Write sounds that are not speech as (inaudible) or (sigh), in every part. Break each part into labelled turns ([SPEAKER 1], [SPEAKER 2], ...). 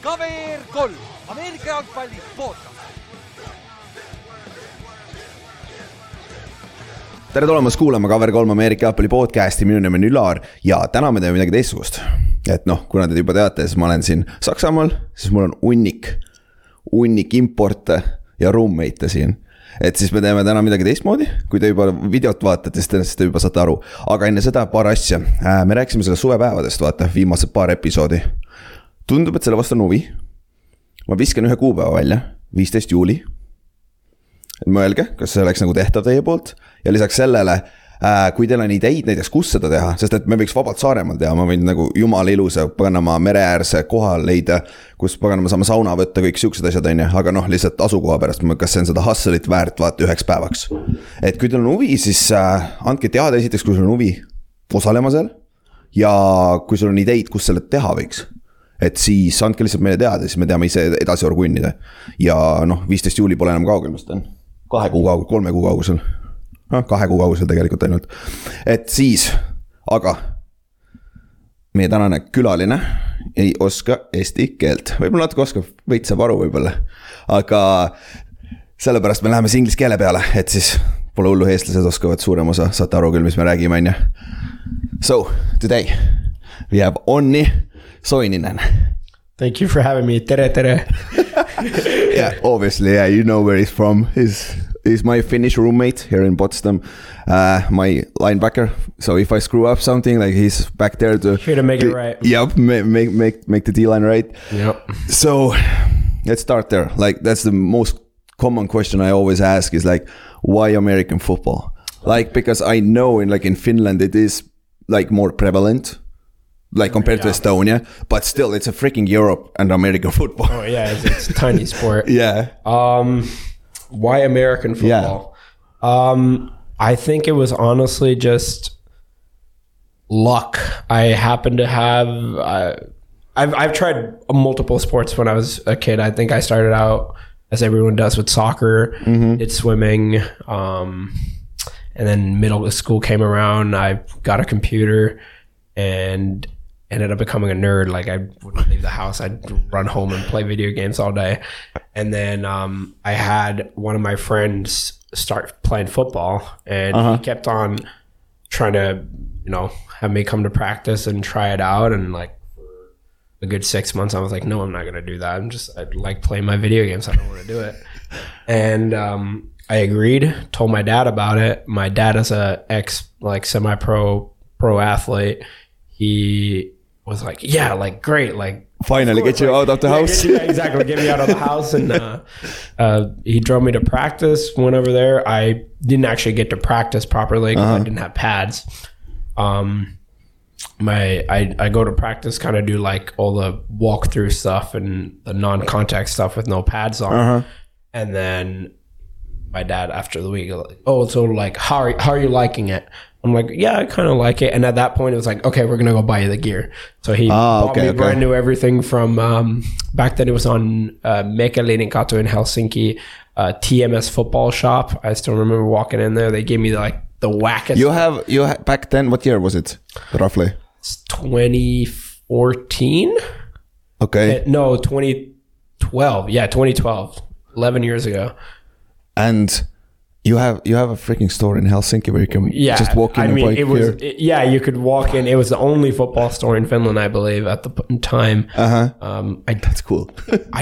[SPEAKER 1] KVR kolm , Ameerika jalgpalli podcast .
[SPEAKER 2] tere tulemast kuulama Cover3 Ameerika jalgpalli podcast'i , minu nimi on Ülar ja täna me teeme midagi teistsugust . et noh , kuna te juba teate , siis ma olen siin Saksamaal , siis mul on hunnik , hunnik importe ja roommate'e siin . et siis me teeme täna midagi teistmoodi , kui te juba videot vaatate , siis tõenäoliselt te juba saate aru . aga enne seda paar asja , me rääkisime sellest suvepäevadest , vaata , viimased paar episoodi . tundub , et selle vastu on huvi . ma viskan ühe kuupäeva välja , viisteist juuli mõelge , kas see oleks nagu tehtav teie poolt ja lisaks sellele , kui teil on ideid näiteks , kus seda teha , sest et me võiks vabalt Saaremaal teha , ma võin nagu jumala ilusa paganama mereäärse koha leida , kus paganama saame sauna võtta , kõik siuksed asjad , on ju , aga noh , lihtsalt asukoha pärast , kas see on seda hustle'it väärt , vaata üheks päevaks . et kui teil on huvi , siis äh, andke teada esiteks , kui sul on huvi osalema seal ja kui sul on ideid , kus selle teha võiks et siis andke lihtsalt meile teada , siis me teame ise edasi orgunnida . ja noh , viisteist juuli pole enam kaugel , mis ta on . kahe kuu kaugel , kolme kuu kaugusel . noh , kahe kuu kaugusel tegelikult ainult . et siis , aga meie tänane külaline ei oska eesti keelt , võib-olla natuke oskab , veits saab aru võib-olla , aga sellepärast me läheme siis inglise keele peale , et siis pole hullu , eestlased oskavad suurem osa , saate aru küll , mis me räägime , on ju . So today we have Onni Soininen.
[SPEAKER 3] Thank you for having me. Tere, tere.
[SPEAKER 2] Yeah, obviously, yeah, you know where he's from. He's he's my Finnish roommate here in Potsdam, uh, my linebacker. So if I screw up something, like he's back there to
[SPEAKER 3] Here to make it right.
[SPEAKER 2] Yep, make make make, make the D line right.
[SPEAKER 3] Yep.
[SPEAKER 2] So let's start there. Like that's the most common question I always ask is like, why American football? Like because I know in like in Finland it is like more prevalent, like compared to Estonia, but still it's a freaking Europe and American (laughs) football.
[SPEAKER 3] Oh yeah, it's, it's a tiny
[SPEAKER 2] (laughs)
[SPEAKER 3] sport.
[SPEAKER 2] yeah.
[SPEAKER 3] Um, why American football? Um, I think it was honestly just luck. I happen to have. Uh, I've I've tried multiple sports when I was a kid. I think I started out as everyone does with soccer, did swimming, um, and then middle school came around. I got a computer and ended up becoming a nerd. Like I wouldn't leave the house. I'd run home and play video games all day. And then um, I had one of my friends start playing football, and he kept on trying to, you know, have me come to practice and try it out. And like for a good six months, I was like, no, I'm not gonna do that. I'm just I like playing my video games. I don't want to do it. And um, I agreed. Told my dad about it. My dad is a ex like semi pro pro athlete. He was like, yeah, like great, like
[SPEAKER 2] Finally get you out of the
[SPEAKER 3] yeah,
[SPEAKER 2] house.
[SPEAKER 3] get- yeah, exactly. Get me out of the house. And uh, uh, he drove me to practice. Went over there. I didn't actually get to practice properly 'cause
[SPEAKER 2] Uh-huh.
[SPEAKER 3] I didn't have pads. Um, my I, I go to practice, kind of do like all the walkthrough stuff and the non-contact stuff with no pads on.
[SPEAKER 2] Uh-huh.
[SPEAKER 3] And then my dad after the week, like, oh, so like, how are, how are you liking it? I'm like, yeah, I kind of like it. And at that point, it was like, okay, we're gonna go buy you the gear. So he
[SPEAKER 2] Ah,
[SPEAKER 3] bought
[SPEAKER 2] okay,
[SPEAKER 3] me
[SPEAKER 2] okay.
[SPEAKER 3] brand new everything from um, back then. It was on uh, Mekalininkatu in Helsinki, uh, TMS football shop. I still remember walking in there. They gave me like the wackest.
[SPEAKER 2] (laughs) You have you ha- back then. What year was it roughly?
[SPEAKER 3] 2014.
[SPEAKER 2] Okay,
[SPEAKER 3] Eh, No, 2012. Yeah, 2012. 11 years ago.
[SPEAKER 2] and you have you have a freaking store in Helsinki where you can
[SPEAKER 3] Yeah.
[SPEAKER 2] just walk in
[SPEAKER 3] I
[SPEAKER 2] and
[SPEAKER 3] mean,
[SPEAKER 2] buy
[SPEAKER 3] it was,
[SPEAKER 2] beer.
[SPEAKER 3] it- yeah, you could walk in. It was the only football store in Finland, I believe, at the p- time.
[SPEAKER 2] Uh-huh.
[SPEAKER 3] Um,
[SPEAKER 2] (laughs)
[SPEAKER 3] I,
[SPEAKER 2] That's
[SPEAKER 3] (laughs)
[SPEAKER 2] cool.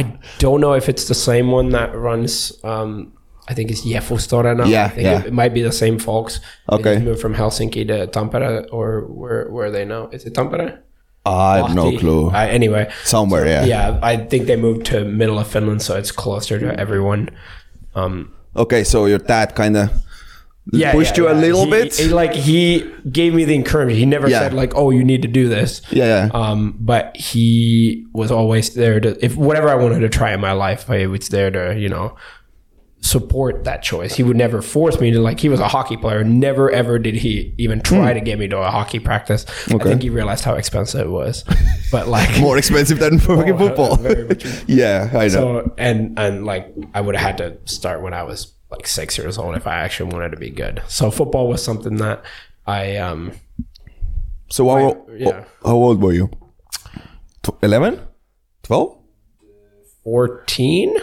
[SPEAKER 3] I don't know if it's the same one that runs, um, I think it's Jefustora now.
[SPEAKER 2] Yeah,
[SPEAKER 3] I think
[SPEAKER 2] yeah.
[SPEAKER 3] It, it might be the same folks. They
[SPEAKER 2] Okay.
[SPEAKER 3] just moved from Helsinki to Tampere or where, where are they now? Is it Tampere?
[SPEAKER 2] I have no
[SPEAKER 3] Lahti.
[SPEAKER 2] clue.
[SPEAKER 3] Uh, anyway.
[SPEAKER 2] Somewhere, yeah.
[SPEAKER 3] yeah, I think they moved to middle of Finland, so it's closer to everyone. Um,
[SPEAKER 2] Okay, so your dad kind of
[SPEAKER 3] yeah,
[SPEAKER 2] pushed
[SPEAKER 3] yeah,
[SPEAKER 2] you
[SPEAKER 3] yeah.
[SPEAKER 2] a little
[SPEAKER 3] He-
[SPEAKER 2] bit.
[SPEAKER 3] he- like he gave me the encouragement. He never
[SPEAKER 2] Yeah.
[SPEAKER 3] said like, "Oh, you need to do this."
[SPEAKER 2] yeah, yeah.
[SPEAKER 3] Um, but he was always there to if whatever I wanted to try in my life, I was there to you know support that choice. He would never force me to like. He was a hockey player. Never ever did he even try
[SPEAKER 2] Hmm.
[SPEAKER 3] to get me to a hockey practice. I think he realized how expensive it
[SPEAKER 2] (laughs)
[SPEAKER 3] was. But like
[SPEAKER 2] more expensive than fucking
[SPEAKER 3] Oh, uh,
[SPEAKER 2] football.
[SPEAKER 3] very much.
[SPEAKER 2] (laughs) yeah, I know.
[SPEAKER 3] So and and like I would have had to start when I was like six years old if I actually wanted to be good. So football was something that I um
[SPEAKER 2] So how,
[SPEAKER 3] yeah.
[SPEAKER 2] how old were you? Tw- 11? 12?
[SPEAKER 3] 14?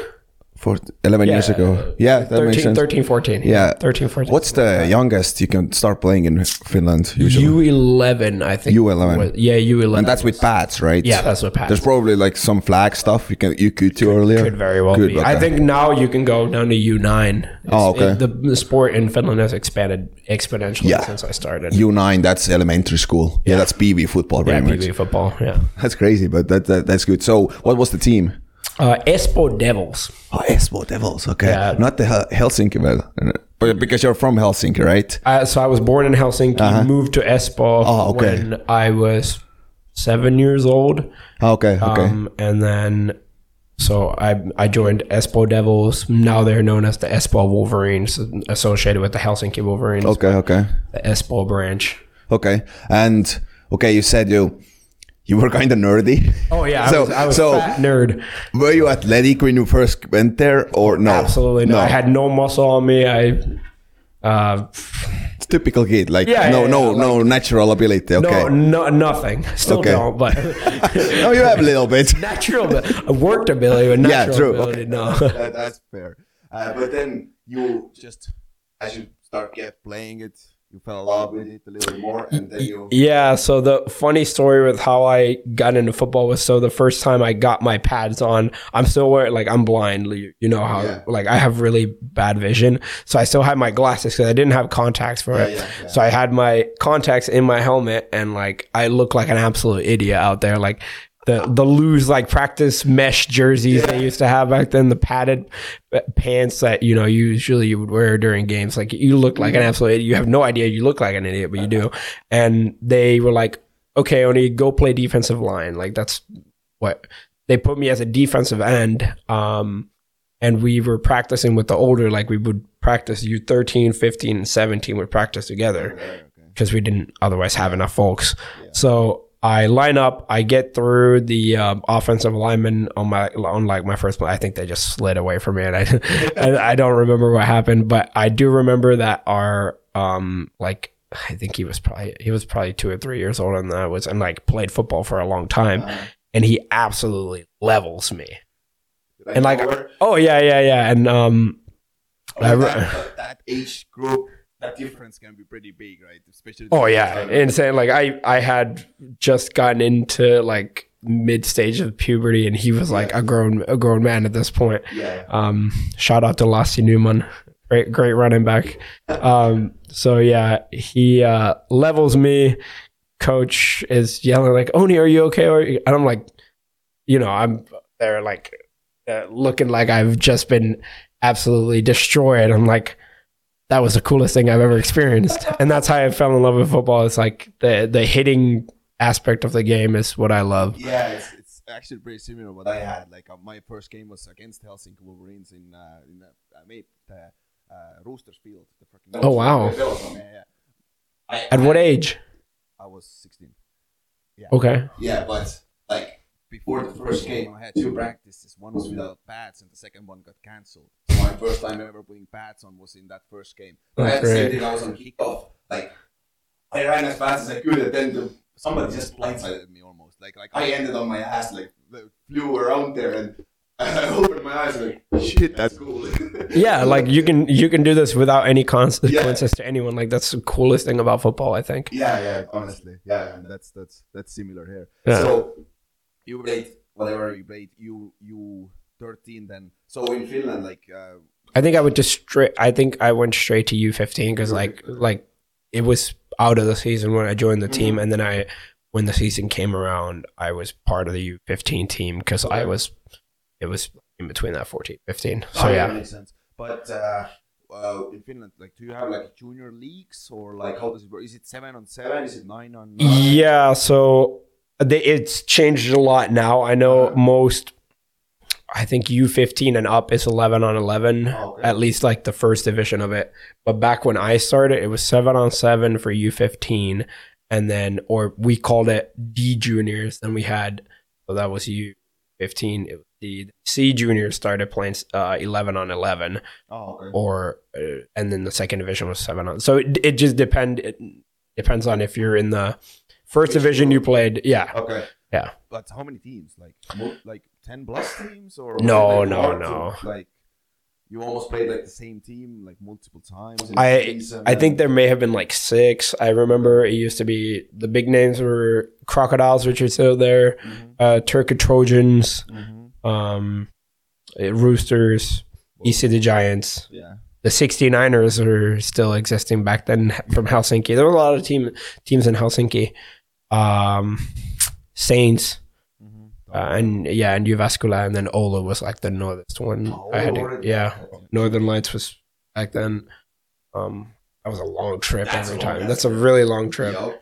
[SPEAKER 2] For 11 years
[SPEAKER 3] uh,
[SPEAKER 2] ago. Yeah, that makes
[SPEAKER 3] 13,
[SPEAKER 2] sense.
[SPEAKER 3] 13, 14.
[SPEAKER 2] Yeah.
[SPEAKER 3] 13, 14.
[SPEAKER 2] What's the youngest you can start playing in Finland usually?
[SPEAKER 3] U11, I think.
[SPEAKER 2] U11.
[SPEAKER 3] was- Yeah, U11.
[SPEAKER 2] and that's with pads, right?
[SPEAKER 3] Yeah, that's with pads.
[SPEAKER 2] There's probably like some flag stuff you can you could do earlier.
[SPEAKER 3] could very well
[SPEAKER 2] Could,
[SPEAKER 3] be.
[SPEAKER 2] okay.
[SPEAKER 3] I think now you can go down to U9.
[SPEAKER 2] Oh,
[SPEAKER 3] It's-
[SPEAKER 2] okay.
[SPEAKER 3] the, the sport in Finland has expanded exponentially
[SPEAKER 2] Yeah.
[SPEAKER 3] since I started.
[SPEAKER 2] U9, that's elementary school. Yeah, that's PB football,
[SPEAKER 3] yeah,
[SPEAKER 2] pretty much.
[SPEAKER 3] PB football. Yeah.
[SPEAKER 2] That's crazy, but that, that that's good. So, what was the team?
[SPEAKER 3] Uh, Espoo Devils.
[SPEAKER 2] Oh, Espoo Devils. Okay,
[SPEAKER 3] Yeah.
[SPEAKER 2] not the Hel- Helsinki, well, but because you're from Helsinki, right?
[SPEAKER 3] Uh, so I was born in Helsinki, moved to Espoo
[SPEAKER 2] Uh-huh. Oh, okay.
[SPEAKER 3] when I was seven years old.
[SPEAKER 2] Ah, Okay, okay.
[SPEAKER 3] Um, and then, so I I joined Espoo Devils. Now they're known as the Espoo Wolverines, associated with the Helsinki Wolverines,
[SPEAKER 2] okay, okay.
[SPEAKER 3] the Espoo branch.
[SPEAKER 2] Okay. And okay, you said you you were kind of nerdy.
[SPEAKER 3] Oh yeah, I
[SPEAKER 2] So
[SPEAKER 3] was, I was
[SPEAKER 2] so
[SPEAKER 3] fat nerd.
[SPEAKER 2] were you athletic when you first went there or no?
[SPEAKER 3] Absolutely no. I had no muscle on me. I. Uh,
[SPEAKER 2] It's typical kid. Like
[SPEAKER 3] Yeah,
[SPEAKER 2] no
[SPEAKER 3] yeah,
[SPEAKER 2] no
[SPEAKER 3] yeah,
[SPEAKER 2] no natural ability. Okay.
[SPEAKER 3] no, no, nothing. Still
[SPEAKER 2] Okay.
[SPEAKER 3] don't, but (laughs)
[SPEAKER 2] no, you have a little bit.
[SPEAKER 3] natural, but worked ability, but natural
[SPEAKER 2] true.
[SPEAKER 3] ability,
[SPEAKER 2] Okay. (laughs)
[SPEAKER 3] no.
[SPEAKER 2] That- that's fair. Uh, but then you just as you start get playing it, you fell in love with it a little more, and then you.
[SPEAKER 3] Yeah, so the funny story with how I got into football was so the first time I got my pads on, I'm still wearing like I'm blind, you you know how
[SPEAKER 2] Yeah.
[SPEAKER 3] like I have really bad vision, so I still had my glasses because I didn't have contacts for it.
[SPEAKER 2] yeah, yeah.
[SPEAKER 3] So I had my contacts in my helmet, and like I look like an absolute idiot out there, like. The, the loose like practice mesh jerseys they used to have back then the padded uh, pants that you know usually you would wear during games like you look like an absolute idiot you have no idea you look like an idiot but you do and they were like okay only go play defensive line like that's what they put me as a defensive end um and we were practicing with the older like we would practice you 13 15 and 17 would practice together because we didn't otherwise have enough folks so i line up i get through the um, offensive lineman on my on like my first play i think they just slid away from me and i (laughs) I, I don't remember what happened but i do remember that our um like i think he was probably he was probably two or three years old and i was and like played football for a long time and he absolutely levels me and like oh yeah yeah yeah and um I re-
[SPEAKER 2] that, that age group, that difference can be pretty big, right? Especially.
[SPEAKER 3] oh yeah and saying like i i had just gotten into like mid stage of puberty and he was like a grown a grown man at this point
[SPEAKER 2] Yeah.
[SPEAKER 3] um shout out to Lassie Newman great great running back um so yeah he uh levels me coach is yelling like Oni are you okay or and I'm like you know I'm there like uh, looking like I've just been absolutely destroyed I'm like that was the coolest thing I've ever experienced and that's how I fell in love with football it's like the the hitting aspect of the game is what I love
[SPEAKER 2] Yeah, it's, it's actually pretty similar what I had. Like uh, my first game was against Helsinki Wolverines in uh, in the, uh, mate, the uh, Roosters Field. The fucking
[SPEAKER 3] Oh, wow.
[SPEAKER 2] Yeah, yeah. I,
[SPEAKER 3] at what age
[SPEAKER 2] I was 16.
[SPEAKER 3] okay
[SPEAKER 2] Yeah, but like before the first game, I had two practices. One was without pads, and the second one got cancelled. So my first time ever putting pads on was in that first game. But I had
[SPEAKER 3] That's
[SPEAKER 2] the same
[SPEAKER 3] great.
[SPEAKER 2] thing. I was on kickoff. Like I ran as fast as I could, and then the, somebody just blindsided me almost. Like like I ended on my ass, like flew around there, and (laughs) I opened my eyes like shit. That's cool.
[SPEAKER 3] (laughs) yeah like you can you can do this without any consequences to anyone like that's the coolest thing about football i think
[SPEAKER 2] (laughs) Yeah, yeah, honestly, yeah, and that's that's that's similar here.
[SPEAKER 3] Yeah.
[SPEAKER 2] So you played whatever you played, you you thirteen then. So in Finland, like uh,
[SPEAKER 3] i think i would just straight i think i went straight to u15 because like like it was out of the season when i joined the team and then i when the season came around i was part of the u15 team because i was it was in between that 14 15 so
[SPEAKER 2] oh,
[SPEAKER 3] yeah
[SPEAKER 2] makes sense. But uh, uh, in Finland, like, do you have like junior leagues or like how does it work? Is it seven on seven? Is it nine on nine?
[SPEAKER 3] yeah so they, it's changed a lot now i know most I think U15 and up is 11 on 11,
[SPEAKER 2] Okay.
[SPEAKER 3] at least like the first division of it. But back when I started, it was 7 on 7 for U15. And then, or we called it D juniors. Then we had, so that was U15. It was D. C juniors started playing uh, 11 on 11
[SPEAKER 2] Oh, okay.
[SPEAKER 3] or uh, and then the second division was seven on. So it, it just depend it depends on if you're in the first division you played. Yeah,
[SPEAKER 2] Okay.
[SPEAKER 3] Yeah.
[SPEAKER 2] But how many teams? Like, mo- like ten plus teams or
[SPEAKER 3] No,
[SPEAKER 2] like,
[SPEAKER 3] no,
[SPEAKER 2] hard to,
[SPEAKER 3] no.
[SPEAKER 2] Like you almost played like the same team like multiple times. in the
[SPEAKER 3] I
[SPEAKER 2] season
[SPEAKER 3] I think
[SPEAKER 2] and-
[SPEAKER 3] there may have been like six. I remember it used to be the big names were Crocodiles, Richard Sill there, uh, Turkic Trojans,
[SPEAKER 2] Mhm.
[SPEAKER 3] um, eh, Roosters, EC the Giants.
[SPEAKER 2] Yeah.
[SPEAKER 3] The 69ers were still existing back then (laughs) from Helsinki. There were a lot of team teams in Helsinki. Um, Saints.
[SPEAKER 2] Oh.
[SPEAKER 3] Uh, and yeah, and Uvascula, and then Ola was like the northernest one. I had, to, yeah, Northern Lights was back then. Um, that was a long trip
[SPEAKER 2] That's
[SPEAKER 3] every
[SPEAKER 2] a long-
[SPEAKER 3] time. That's a really long trip.
[SPEAKER 2] Yup.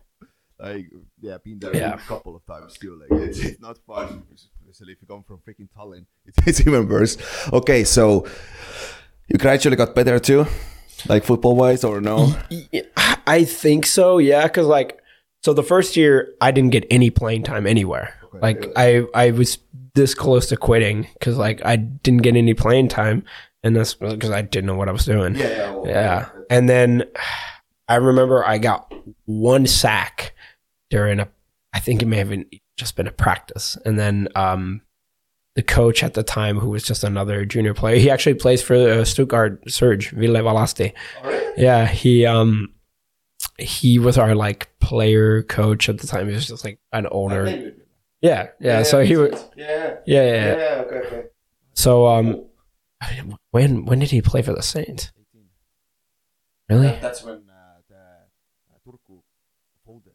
[SPEAKER 2] Like yeah, been there
[SPEAKER 3] Yeah.
[SPEAKER 2] a couple of times too. Like it's, it's not fun, especially if you come from freaking Tallinn. (laughs) It's, it's even worse. Okay, so you gradually got better too, like football wise, or
[SPEAKER 3] (laughs)
[SPEAKER 2] no?
[SPEAKER 3] Y- I think so. Yeah, because like, so the first year I didn't get any playing time anywhere. Like I, I was this close to quitting because like I didn't get any playing time, and that's because I didn't know what I was doing.
[SPEAKER 2] yeah. well,
[SPEAKER 3] Yeah. And then I remember I got one sack during a, I think it may have been just been a practice. And then um, the coach at the time, who was just another junior player, he actually plays for uh, Stuttgart Surge, Ville Valaste.
[SPEAKER 2] Oh,
[SPEAKER 3] Yeah. He, um, he was our like player coach at the time. He was just like an older. Yeah. Yeah. so he was,
[SPEAKER 2] Yeah.
[SPEAKER 3] yeah, yeah, yeah.
[SPEAKER 2] Okay. okay.
[SPEAKER 3] So, um, when, when did he play for the Saints? Really?
[SPEAKER 2] that's when uh, the uh, Turku folded.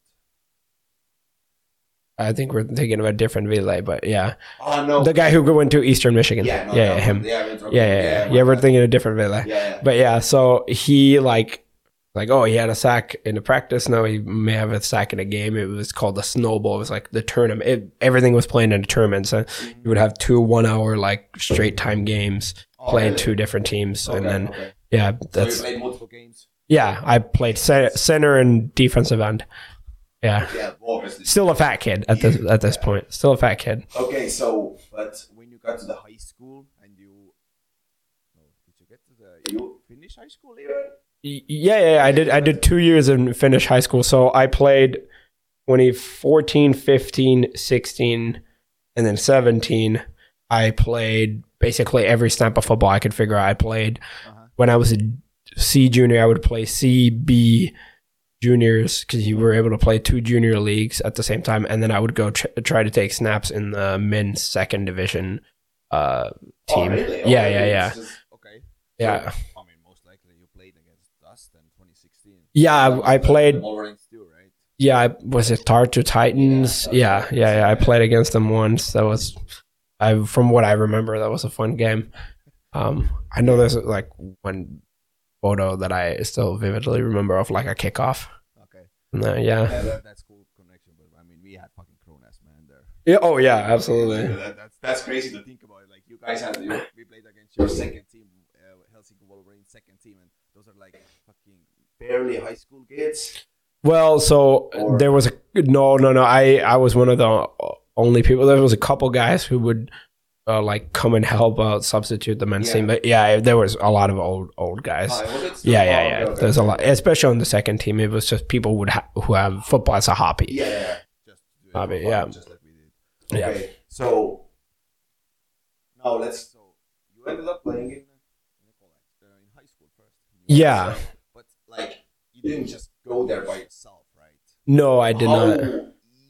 [SPEAKER 3] I think we're thinking of a different Ville, but yeah,
[SPEAKER 2] Oh no.
[SPEAKER 3] the guy who went to Eastern Michigan.
[SPEAKER 2] yeah.
[SPEAKER 3] Yeah,
[SPEAKER 2] No,
[SPEAKER 3] yeah,
[SPEAKER 2] no,
[SPEAKER 3] him. Yeah,
[SPEAKER 2] Yeah. it's
[SPEAKER 3] yeah,
[SPEAKER 2] okay.
[SPEAKER 3] yeah.
[SPEAKER 2] my
[SPEAKER 3] Yeah, we're
[SPEAKER 2] bad.
[SPEAKER 3] thinking of a different Ville.
[SPEAKER 2] Yeah.
[SPEAKER 3] But yeah, so he like, like, oh, he had a sack in a practice. No, he may have a sack in a game. It was called the snowball. It was like the tournament. It, everything was playing in a tournament. So you would have two one-hour like straight time games
[SPEAKER 2] Oh,
[SPEAKER 3] (laughs) playing
[SPEAKER 2] really?
[SPEAKER 3] two different teams, and
[SPEAKER 2] Okay,
[SPEAKER 3] then
[SPEAKER 2] okay. So
[SPEAKER 3] yeah,
[SPEAKER 2] you
[SPEAKER 3] that's
[SPEAKER 2] played multiple games.
[SPEAKER 3] yeah. I played ce- center and defensive end. Yeah,
[SPEAKER 2] Yeah, obviously.
[SPEAKER 3] still a fat kid at this at this point. Still a fat kid.
[SPEAKER 2] Okay, so but when you got to the high school and you, no, did you get to the you finish high school even?
[SPEAKER 3] Y- yeah, yeah, yeah, I did. I did two years in Finnish high school. So I played 2014, 15, 16, and then 17. I played basically every snap of football I could figure out. I played when I was a C junior, I would play C, B juniors because you were able to play two junior leagues at the same time. And then I would go tr- try to take snaps in the men's second division uh, team. Yeah, yeah, yeah.
[SPEAKER 2] oh, okay.
[SPEAKER 3] Yeah.
[SPEAKER 2] I mean, most likely you played against us in 2016.
[SPEAKER 3] Yeah, I, I played
[SPEAKER 2] Wolverines too, right?
[SPEAKER 3] Yeah, I, was it Tartu Titans? Yeah, yeah, yeah. I played against them once. That was, I from what I remember, that was a fun game. Um, I know there's like one photo that I still vividly remember of like a kickoff. (laughs)
[SPEAKER 2] Okay.
[SPEAKER 3] And then, yeah.
[SPEAKER 2] Yeah, that, that's cool connection, but I mean, we had fucking grown ass man there.
[SPEAKER 3] yeah. Oh yeah, absolutely.
[SPEAKER 2] That, that's, that's crazy to think about. Like you guys had you, we played against your second team, uh, Helsinki Wolverines second team, and those are like fucking barely high school kids.
[SPEAKER 3] Well, so
[SPEAKER 2] Or-
[SPEAKER 3] there was a no, no, no. I I was one of the only people. There was a couple guys who would. Uh, like come and help out, substitute the men's
[SPEAKER 2] Yeah.
[SPEAKER 3] team. But yeah, there was a lot of old old guys. Yeah, yeah, yeah. There's a lot, especially on the second team. It was just people would ha- who have football as a hobby.
[SPEAKER 2] Yeah, yeah. Just do it
[SPEAKER 3] Hobby,
[SPEAKER 2] for fun,
[SPEAKER 3] yeah.
[SPEAKER 2] Just like we did.
[SPEAKER 3] Yeah.
[SPEAKER 2] Okay, so now let's. So you ended up playing in in college, uh, in high school first. in US,
[SPEAKER 3] Yeah.
[SPEAKER 2] right? But like, you didn't just go there by yourself, right?
[SPEAKER 3] No, I did
[SPEAKER 2] How
[SPEAKER 3] not.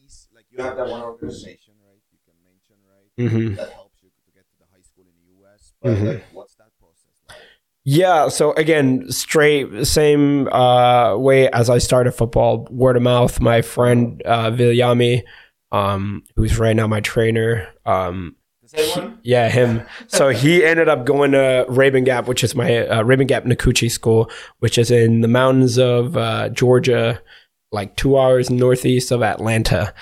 [SPEAKER 2] eas- like you have that one organization, right? You can mention, right?
[SPEAKER 3] Mhm.
[SPEAKER 2] That helps you to get to the high school in the US. But
[SPEAKER 3] Mhm.
[SPEAKER 2] like, what's that process like?
[SPEAKER 3] Yeah. So again, straight same uh, way as I started football, word of mouth. My friend uh, Viljami, um, who's right now my trainer. Um,
[SPEAKER 2] The
[SPEAKER 3] (laughs)
[SPEAKER 2] same one?
[SPEAKER 3] yeah, him.
[SPEAKER 2] (laughs)
[SPEAKER 3] So he ended up going to Raven Gap, which is my uh, Raven Gap Nakuchi school, which is in the mountains of uh, Georgia, like two hours northeast of Atlanta,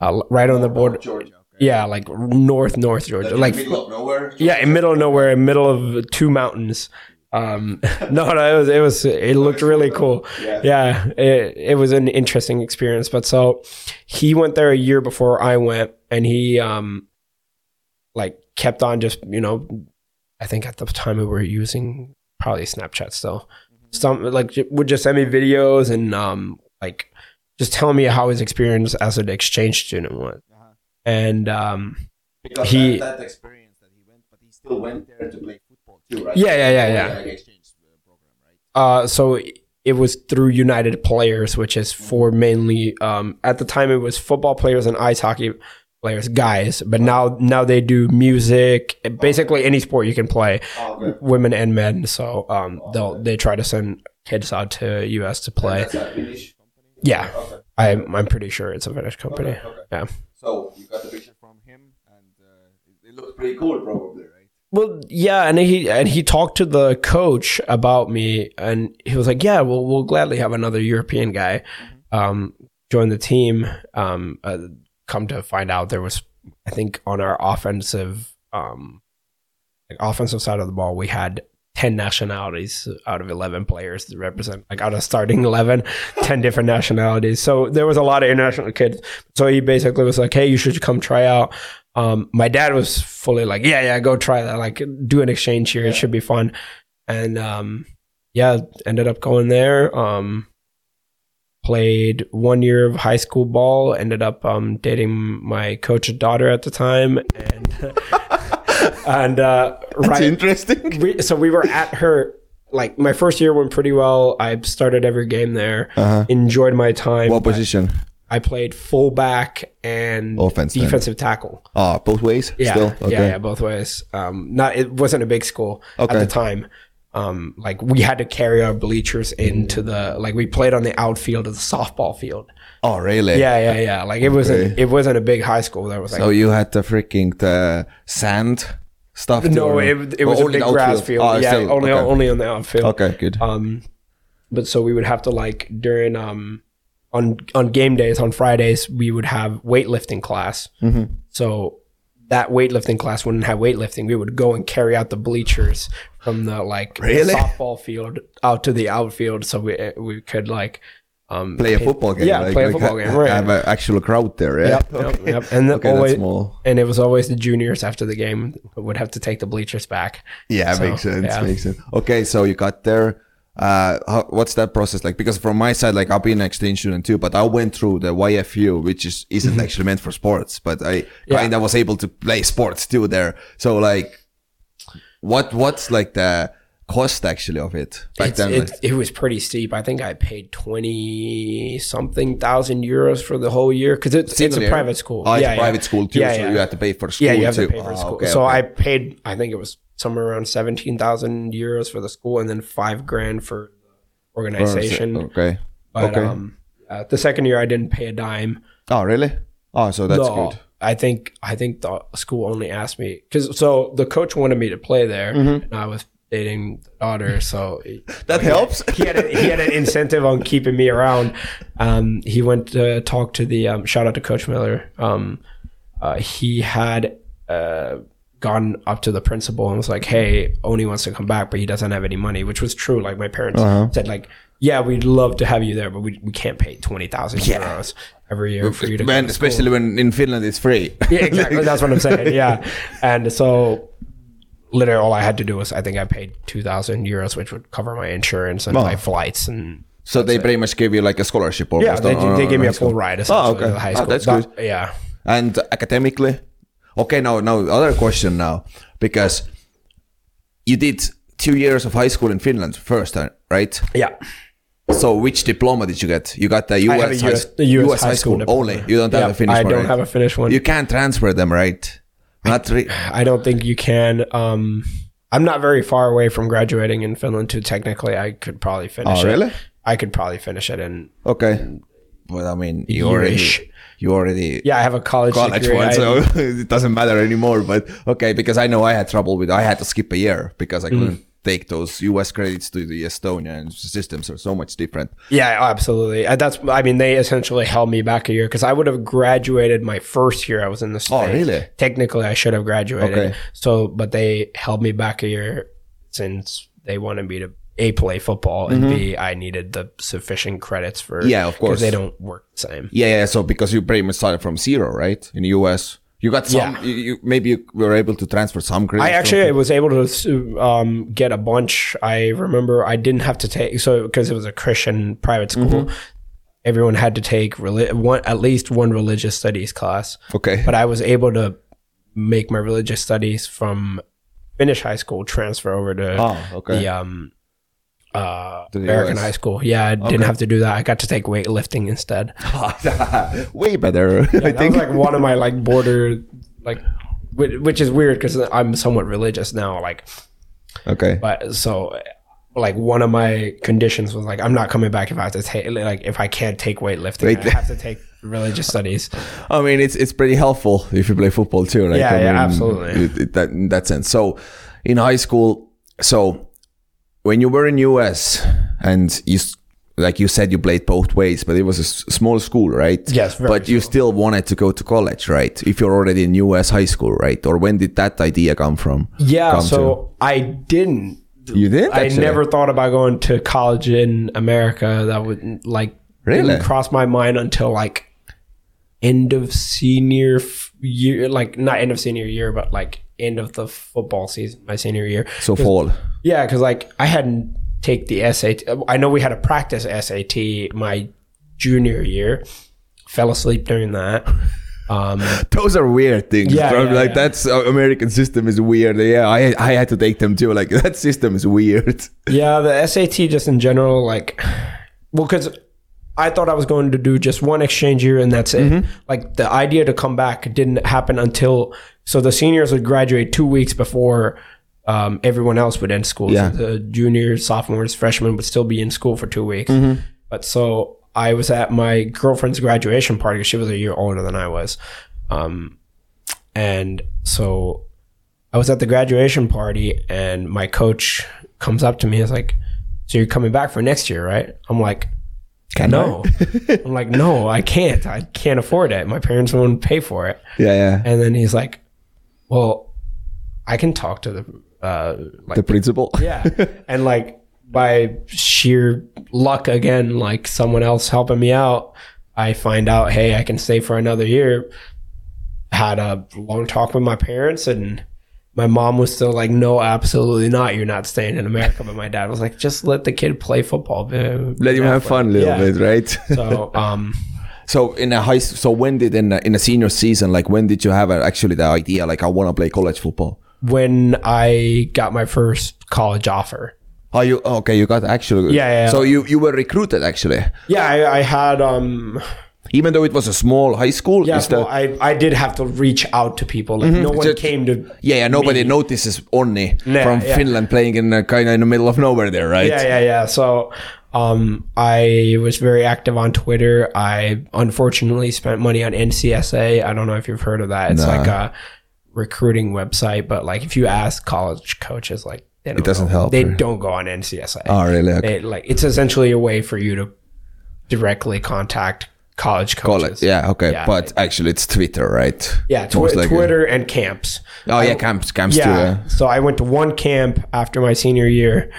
[SPEAKER 3] uh, right on the border.
[SPEAKER 2] Georgia. Okay.
[SPEAKER 3] Yeah, like north, north
[SPEAKER 2] Oh, Like,
[SPEAKER 3] Georgia.
[SPEAKER 2] in the
[SPEAKER 3] Like,
[SPEAKER 2] middle of nowhere.
[SPEAKER 3] yeah, in middle of nowhere, in middle of two mountains. Um, (laughs) no, no, it was, it was, it looked really cool.
[SPEAKER 2] Yeah.
[SPEAKER 3] Yeah, it, it was an interesting experience. But so he went there a year before I went, and he, um, like kept on just, you know, I think at the time we were using probably Snapchat still.
[SPEAKER 2] Mm-hmm.
[SPEAKER 3] Some like j- would just send me videos and, um, like just tell me how his experience as an exchange student was
[SPEAKER 2] Uh-huh.
[SPEAKER 3] and um,
[SPEAKER 2] Because
[SPEAKER 3] He-
[SPEAKER 2] that, that experience that he went, but he still went there to play football too, right?
[SPEAKER 3] Yeah, yeah, yeah, yeah.
[SPEAKER 2] Like exchange uh, program, right?
[SPEAKER 3] Uh, so it was through United Players, which is for mainly um, at the time it was football players and ice hockey players, guys. But now now they do music, basically any sport you can play,
[SPEAKER 2] Oh, okay.
[SPEAKER 3] women and men. So um, they'll they try to send kids out to US to play.
[SPEAKER 2] That's a Finnish company.
[SPEAKER 3] Yeah,
[SPEAKER 2] Okay.
[SPEAKER 3] I'm I'm pretty sure it's a Finnish company.
[SPEAKER 2] Okay, okay.
[SPEAKER 3] Yeah.
[SPEAKER 2] So you got the picture from him, and uh, it- it looked pretty cool, probably, right?
[SPEAKER 3] Well, yeah, and he and he talked to the coach about me, and he was like, "Yeah, we'll we'll gladly have another European guy um, join the team." Um, uh, come to find out, there was, I think, on our offensive um, like offensive side of the ball, we had ten nationalities out of eleven players to represent, like out of starting 11, 10 different nationalities. So there was a lot of international kids. So he basically was like, "Hey, you should come try out." um, my dad was fully like, yeah, yeah, go try that. Like, do an exchange here. It should be fun. And um, yeah, ended up going there. Um, played one year of high school ball. Ended up um, dating my coach's daughter at the time, and (laughs) and uh,
[SPEAKER 2] It's
[SPEAKER 3] right.
[SPEAKER 2] interesting.
[SPEAKER 3] (laughs) We, so we were at her. Like my first year went pretty well. I started every game there.
[SPEAKER 2] Uh-huh.
[SPEAKER 3] Enjoyed my time.
[SPEAKER 2] What position?
[SPEAKER 3] I played fullback and
[SPEAKER 2] Offense then.
[SPEAKER 3] defensive tackle.
[SPEAKER 2] Ah, both ways.
[SPEAKER 3] Yeah,
[SPEAKER 2] Still? Okay.
[SPEAKER 3] yeah, yeah, both ways. Um, not it wasn't a big school
[SPEAKER 2] Okay.
[SPEAKER 3] at the time. Um, like we had to carry our bleachers into the like we played on the outfield of the softball field.
[SPEAKER 2] Oh, really?
[SPEAKER 3] Yeah, yeah, yeah. Like it wasn't it wasn't a big high school. That was like
[SPEAKER 2] So you had the freaking the sand stuff.
[SPEAKER 3] no,
[SPEAKER 2] too, or
[SPEAKER 3] it, it
[SPEAKER 2] Or
[SPEAKER 3] was a
[SPEAKER 2] only
[SPEAKER 3] big
[SPEAKER 2] the
[SPEAKER 3] grass
[SPEAKER 2] outfield?
[SPEAKER 3] field.
[SPEAKER 2] Ah,
[SPEAKER 3] yeah,
[SPEAKER 2] still,
[SPEAKER 3] only
[SPEAKER 2] okay.
[SPEAKER 3] only on the outfield.
[SPEAKER 2] Okay, good.
[SPEAKER 3] Um, but so we would have to like during um on on game days on Fridays we would have weightlifting class.
[SPEAKER 2] Mm-hmm.
[SPEAKER 3] So that weightlifting class wouldn't have weightlifting. We would go and carry out the bleachers from the like
[SPEAKER 2] Really?
[SPEAKER 3] softball field out to the outfield, so we eh, we could like um
[SPEAKER 2] (laughs) play a football game.
[SPEAKER 3] Yeah,
[SPEAKER 2] like-
[SPEAKER 3] play a
[SPEAKER 2] like
[SPEAKER 3] football
[SPEAKER 2] ha-
[SPEAKER 3] game. Right.
[SPEAKER 2] Have an actual crowd there. Yeah.
[SPEAKER 3] Yep, yep,
[SPEAKER 2] Okay.
[SPEAKER 3] yep. And the
[SPEAKER 2] okay,
[SPEAKER 3] always,
[SPEAKER 2] that's small.
[SPEAKER 3] and it was always the juniors after the game would have to take the bleachers back.
[SPEAKER 2] Yeah,
[SPEAKER 3] So,
[SPEAKER 2] makes sense.
[SPEAKER 3] yeah.
[SPEAKER 2] Makes sense. Okay, so you got there. Uh, how, what's that process like? Because from my side, like I've been an exchange student too, but I went through the YFU, which is isn't actually meant for sports, but I
[SPEAKER 3] Mm-hmm. Yeah.
[SPEAKER 2] kind of was able to play sports too there. So like, what what's like the cost actually of it back
[SPEAKER 3] It's-
[SPEAKER 2] then?
[SPEAKER 3] it,
[SPEAKER 2] like-
[SPEAKER 3] it was pretty steep. I think I paid twenty something thousand euros for the whole year because it's it's
[SPEAKER 2] Single
[SPEAKER 3] a
[SPEAKER 2] year?
[SPEAKER 3] private school.
[SPEAKER 2] Oh, it's a private school too,
[SPEAKER 3] Yeah,
[SPEAKER 2] so
[SPEAKER 3] yeah.
[SPEAKER 2] you have to pay for school
[SPEAKER 3] yeah, you have
[SPEAKER 2] too.
[SPEAKER 3] to pay for
[SPEAKER 2] Ah,
[SPEAKER 3] school.
[SPEAKER 2] okay,
[SPEAKER 3] so
[SPEAKER 2] okay.
[SPEAKER 3] I paid. I think it was somewhere around seventeen thousand euros for the school, and then five grand for the organization.
[SPEAKER 2] Okay.
[SPEAKER 3] But
[SPEAKER 2] Oh, okay.
[SPEAKER 3] um, uh, the second year I didn't pay a dime.
[SPEAKER 2] oh, really? Oh, so that's
[SPEAKER 3] No,
[SPEAKER 2] good.
[SPEAKER 3] I think I think the school only asked me because so the coach wanted me to play there,
[SPEAKER 2] Mm-hmm.
[SPEAKER 3] and I was dating the daughter, so
[SPEAKER 2] That helps.
[SPEAKER 3] he had a, he had an incentive on keeping me around. Um, he went to talk to the um, shout out to Coach Miller. Um, uh, he had uh, gone up to the principal and was like, "Hey, Oni wants to come back, but he doesn't have any money," which was true. Like my parents said, like, "Yeah, we'd love to have you there, but we, we can't pay twenty thousand euros every year for you to."
[SPEAKER 2] When,
[SPEAKER 3] come to school."
[SPEAKER 2] especially when in Finland it's free.
[SPEAKER 3] (laughs) yeah,
[SPEAKER 2] (laughs)
[SPEAKER 3] exactly. That's what I'm saying. Yeah, and so. Literally, all I had to do was I think I paid two thousand euros, which would cover my insurance and my flights and
[SPEAKER 2] So they pretty much gave you like a scholarship almost.
[SPEAKER 3] Yeah, they,
[SPEAKER 2] on- on-
[SPEAKER 3] they
[SPEAKER 2] on
[SPEAKER 3] gave me
[SPEAKER 2] high
[SPEAKER 3] a full
[SPEAKER 2] school.
[SPEAKER 3] ride. essentially,
[SPEAKER 2] okay.
[SPEAKER 3] to the High
[SPEAKER 2] Ah,
[SPEAKER 3] school.
[SPEAKER 2] that's
[SPEAKER 3] That- Yeah.
[SPEAKER 2] And academically, okay. Now, now other question now because you did two years of high school in Finland first, uh, right?
[SPEAKER 3] Yeah.
[SPEAKER 2] So which diploma did you get? You got the US,
[SPEAKER 3] have a
[SPEAKER 2] high, s-
[SPEAKER 3] US the US high school diploma.
[SPEAKER 2] only. You don't have
[SPEAKER 3] Yeah,
[SPEAKER 2] a Finnish
[SPEAKER 3] I
[SPEAKER 2] one.
[SPEAKER 3] don't
[SPEAKER 2] right?
[SPEAKER 3] have a Finnish one.
[SPEAKER 2] You can't transfer them, right? Not re-
[SPEAKER 3] I don't think you can. Um, I'm not very far away from graduating in Finland, too. Technically, I could probably finish
[SPEAKER 2] Oh,
[SPEAKER 3] it.
[SPEAKER 2] really?
[SPEAKER 3] I could probably finish it. And
[SPEAKER 2] okay. But I mean, you already,
[SPEAKER 3] Yearish.
[SPEAKER 2] you already
[SPEAKER 3] yeah, I have a college,
[SPEAKER 2] college
[SPEAKER 3] degree.
[SPEAKER 2] one,
[SPEAKER 3] I-
[SPEAKER 2] so (laughs) it doesn't matter anymore. But okay, because I know I had trouble with I had to skip a year because I
[SPEAKER 3] Mm-hmm.
[SPEAKER 2] couldn't take those US credits to the Estonian systems are so much different.
[SPEAKER 3] yeah, absolutely. Uh, That's, I mean, they essentially held me back a year because I would have graduated my first year I was in the States.
[SPEAKER 2] Oh, really?
[SPEAKER 3] Technically, I should have graduated.
[SPEAKER 2] Okay.
[SPEAKER 3] So, but they held me back a year since they wanted me to a play football and b I needed the sufficient credits for
[SPEAKER 2] Mm-hmm. Yeah, of
[SPEAKER 3] 'cause
[SPEAKER 2] course.
[SPEAKER 3] they don't work the same.
[SPEAKER 2] Yeah, yeah. So because you pretty much started from zero, right? In the US, you got some.
[SPEAKER 3] Yeah.
[SPEAKER 2] You, you, maybe you were able to transfer some credits.
[SPEAKER 3] I
[SPEAKER 2] from-
[SPEAKER 3] actually was able to s- um, get a bunch. I remember I didn't have to take so because it was a Christian private school.
[SPEAKER 2] Mm-hmm.
[SPEAKER 3] Everyone (laughs) had to take reli- one at least one religious studies class.
[SPEAKER 2] Okay.
[SPEAKER 3] but I was able to make my religious studies from finish high school, transfer over to
[SPEAKER 2] Oh, okay.
[SPEAKER 3] the um, uh,
[SPEAKER 2] To the
[SPEAKER 3] American
[SPEAKER 2] US.
[SPEAKER 3] high school. Yeah, I didn't have to do that. I got to take weightlifting instead.
[SPEAKER 2] (laughs) Way better, I
[SPEAKER 3] That was
[SPEAKER 2] think.
[SPEAKER 3] like one of my like border like, which, which is weird because I'm somewhat religious now. Like,
[SPEAKER 2] okay.
[SPEAKER 3] but so like one of my conditions was like I'm not coming back if I have to take like if I can't take weightlifting,
[SPEAKER 2] Wait-
[SPEAKER 3] I have to take religious studies.
[SPEAKER 2] I mean, it's it's pretty helpful if you play football too, right?
[SPEAKER 3] Yeah,
[SPEAKER 2] I
[SPEAKER 3] yeah,
[SPEAKER 2] mean,
[SPEAKER 3] absolutely.
[SPEAKER 2] It, it, that, in that sense. So, in high school, so when you were in US and you, s- like you said, you played both ways, but it was a s- small school, right?
[SPEAKER 3] Yes, very
[SPEAKER 2] but you still wanted to go to college, right? If you're already in US high school, right? Or when did that idea come from?
[SPEAKER 3] Yeah,
[SPEAKER 2] Come
[SPEAKER 3] so I didn't.
[SPEAKER 2] to? you did.
[SPEAKER 3] I
[SPEAKER 2] actually?
[SPEAKER 3] never thought about going to college in America. That would like didn't
[SPEAKER 2] Really?
[SPEAKER 3] cross my mind until like end of senior f- year, like not end of senior year, but like end of the football season, my senior year.
[SPEAKER 2] So fall.
[SPEAKER 3] Yeah, because like I hadn't take the SAT. I know we had a practice SAT my junior year. Fell asleep during that. Um,
[SPEAKER 2] (laughs) Those are weird things.
[SPEAKER 3] Yeah,
[SPEAKER 2] bro.
[SPEAKER 3] yeah,
[SPEAKER 2] like
[SPEAKER 3] yeah.
[SPEAKER 2] that's uh, American system is weird. Yeah, I I had to take them too. Like (laughs) that system is weird. (laughs)
[SPEAKER 3] yeah, the SAT just in general, like, well, because I thought I was going to do just one exchange year and that's it. Like the idea to come back didn't happen until so the seniors would graduate two weeks before. Um, everyone else would end school.
[SPEAKER 2] Yeah.
[SPEAKER 3] So the juniors, sophomores, freshmen would still be in school for two weeks. But so I was at my girlfriend's graduation party. She was a year older than I was. Um, and so I was at the graduation party and my coach comes up to me and is like, So you're coming back for next year, right? I'm like,
[SPEAKER 2] Can
[SPEAKER 3] No. (laughs) I'm like, No, I can't. I can't afford it. My parents won't pay for it.
[SPEAKER 2] Yeah, yeah.
[SPEAKER 3] And then he's like, Well, I can talk to the uh like
[SPEAKER 2] the
[SPEAKER 3] (laughs)
[SPEAKER 2] principal.
[SPEAKER 3] yeah. And like by sheer luck again, like someone else helping me out, I find out, hey, I can stay for another year. Had a long talk with my parents and my mom was still like, no, absolutely not. You're not staying in America. But my dad was like, just let the kid play football.
[SPEAKER 2] Let him have fun a little
[SPEAKER 3] Yeah.
[SPEAKER 2] bit, right?
[SPEAKER 3] So, um,
[SPEAKER 2] (laughs) so in a high, s- so when did in a, in a senior season, like when did you have uh, actually the idea, like I want to play college football?
[SPEAKER 3] when I got my first college offer,
[SPEAKER 2] Oh, you okay? You got actually,
[SPEAKER 3] Yeah, yeah, yeah.
[SPEAKER 2] So you you were recruited actually,
[SPEAKER 3] yeah, I, I had, um,
[SPEAKER 2] even though it was a small high school.
[SPEAKER 3] yeah,
[SPEAKER 2] is the-
[SPEAKER 3] well, I, I did have to reach out to people. Like, no one
[SPEAKER 2] Just-
[SPEAKER 3] came to
[SPEAKER 2] yeah, yeah. Nobody notices Onni
[SPEAKER 3] Nah,
[SPEAKER 2] from
[SPEAKER 3] yeah.
[SPEAKER 2] Finland playing in uh, kind of in the middle of nowhere there, right?
[SPEAKER 3] Yeah, yeah, yeah. So um, I was very active on Twitter. I unfortunately spent money on NCSA. I don't know if you've heard of that. It's like a recruiting website, but like if you ask college coaches, like they don't
[SPEAKER 2] doesn't
[SPEAKER 3] go-
[SPEAKER 2] help,
[SPEAKER 3] They
[SPEAKER 2] or-
[SPEAKER 3] don't go on NCSA.
[SPEAKER 2] Oh, really? Okay.
[SPEAKER 3] They, like it's essentially a way for you to directly contact college coaches.
[SPEAKER 2] College. Yeah. Okay.
[SPEAKER 3] Yeah,
[SPEAKER 2] but actually, it's Twitter, right?
[SPEAKER 3] Yeah, tw-
[SPEAKER 2] Most likely.
[SPEAKER 3] Twitter and camps.
[SPEAKER 2] Oh yeah, camps, camps too.
[SPEAKER 3] Yeah.
[SPEAKER 2] yeah.
[SPEAKER 3] So I went to one camp after my senior year.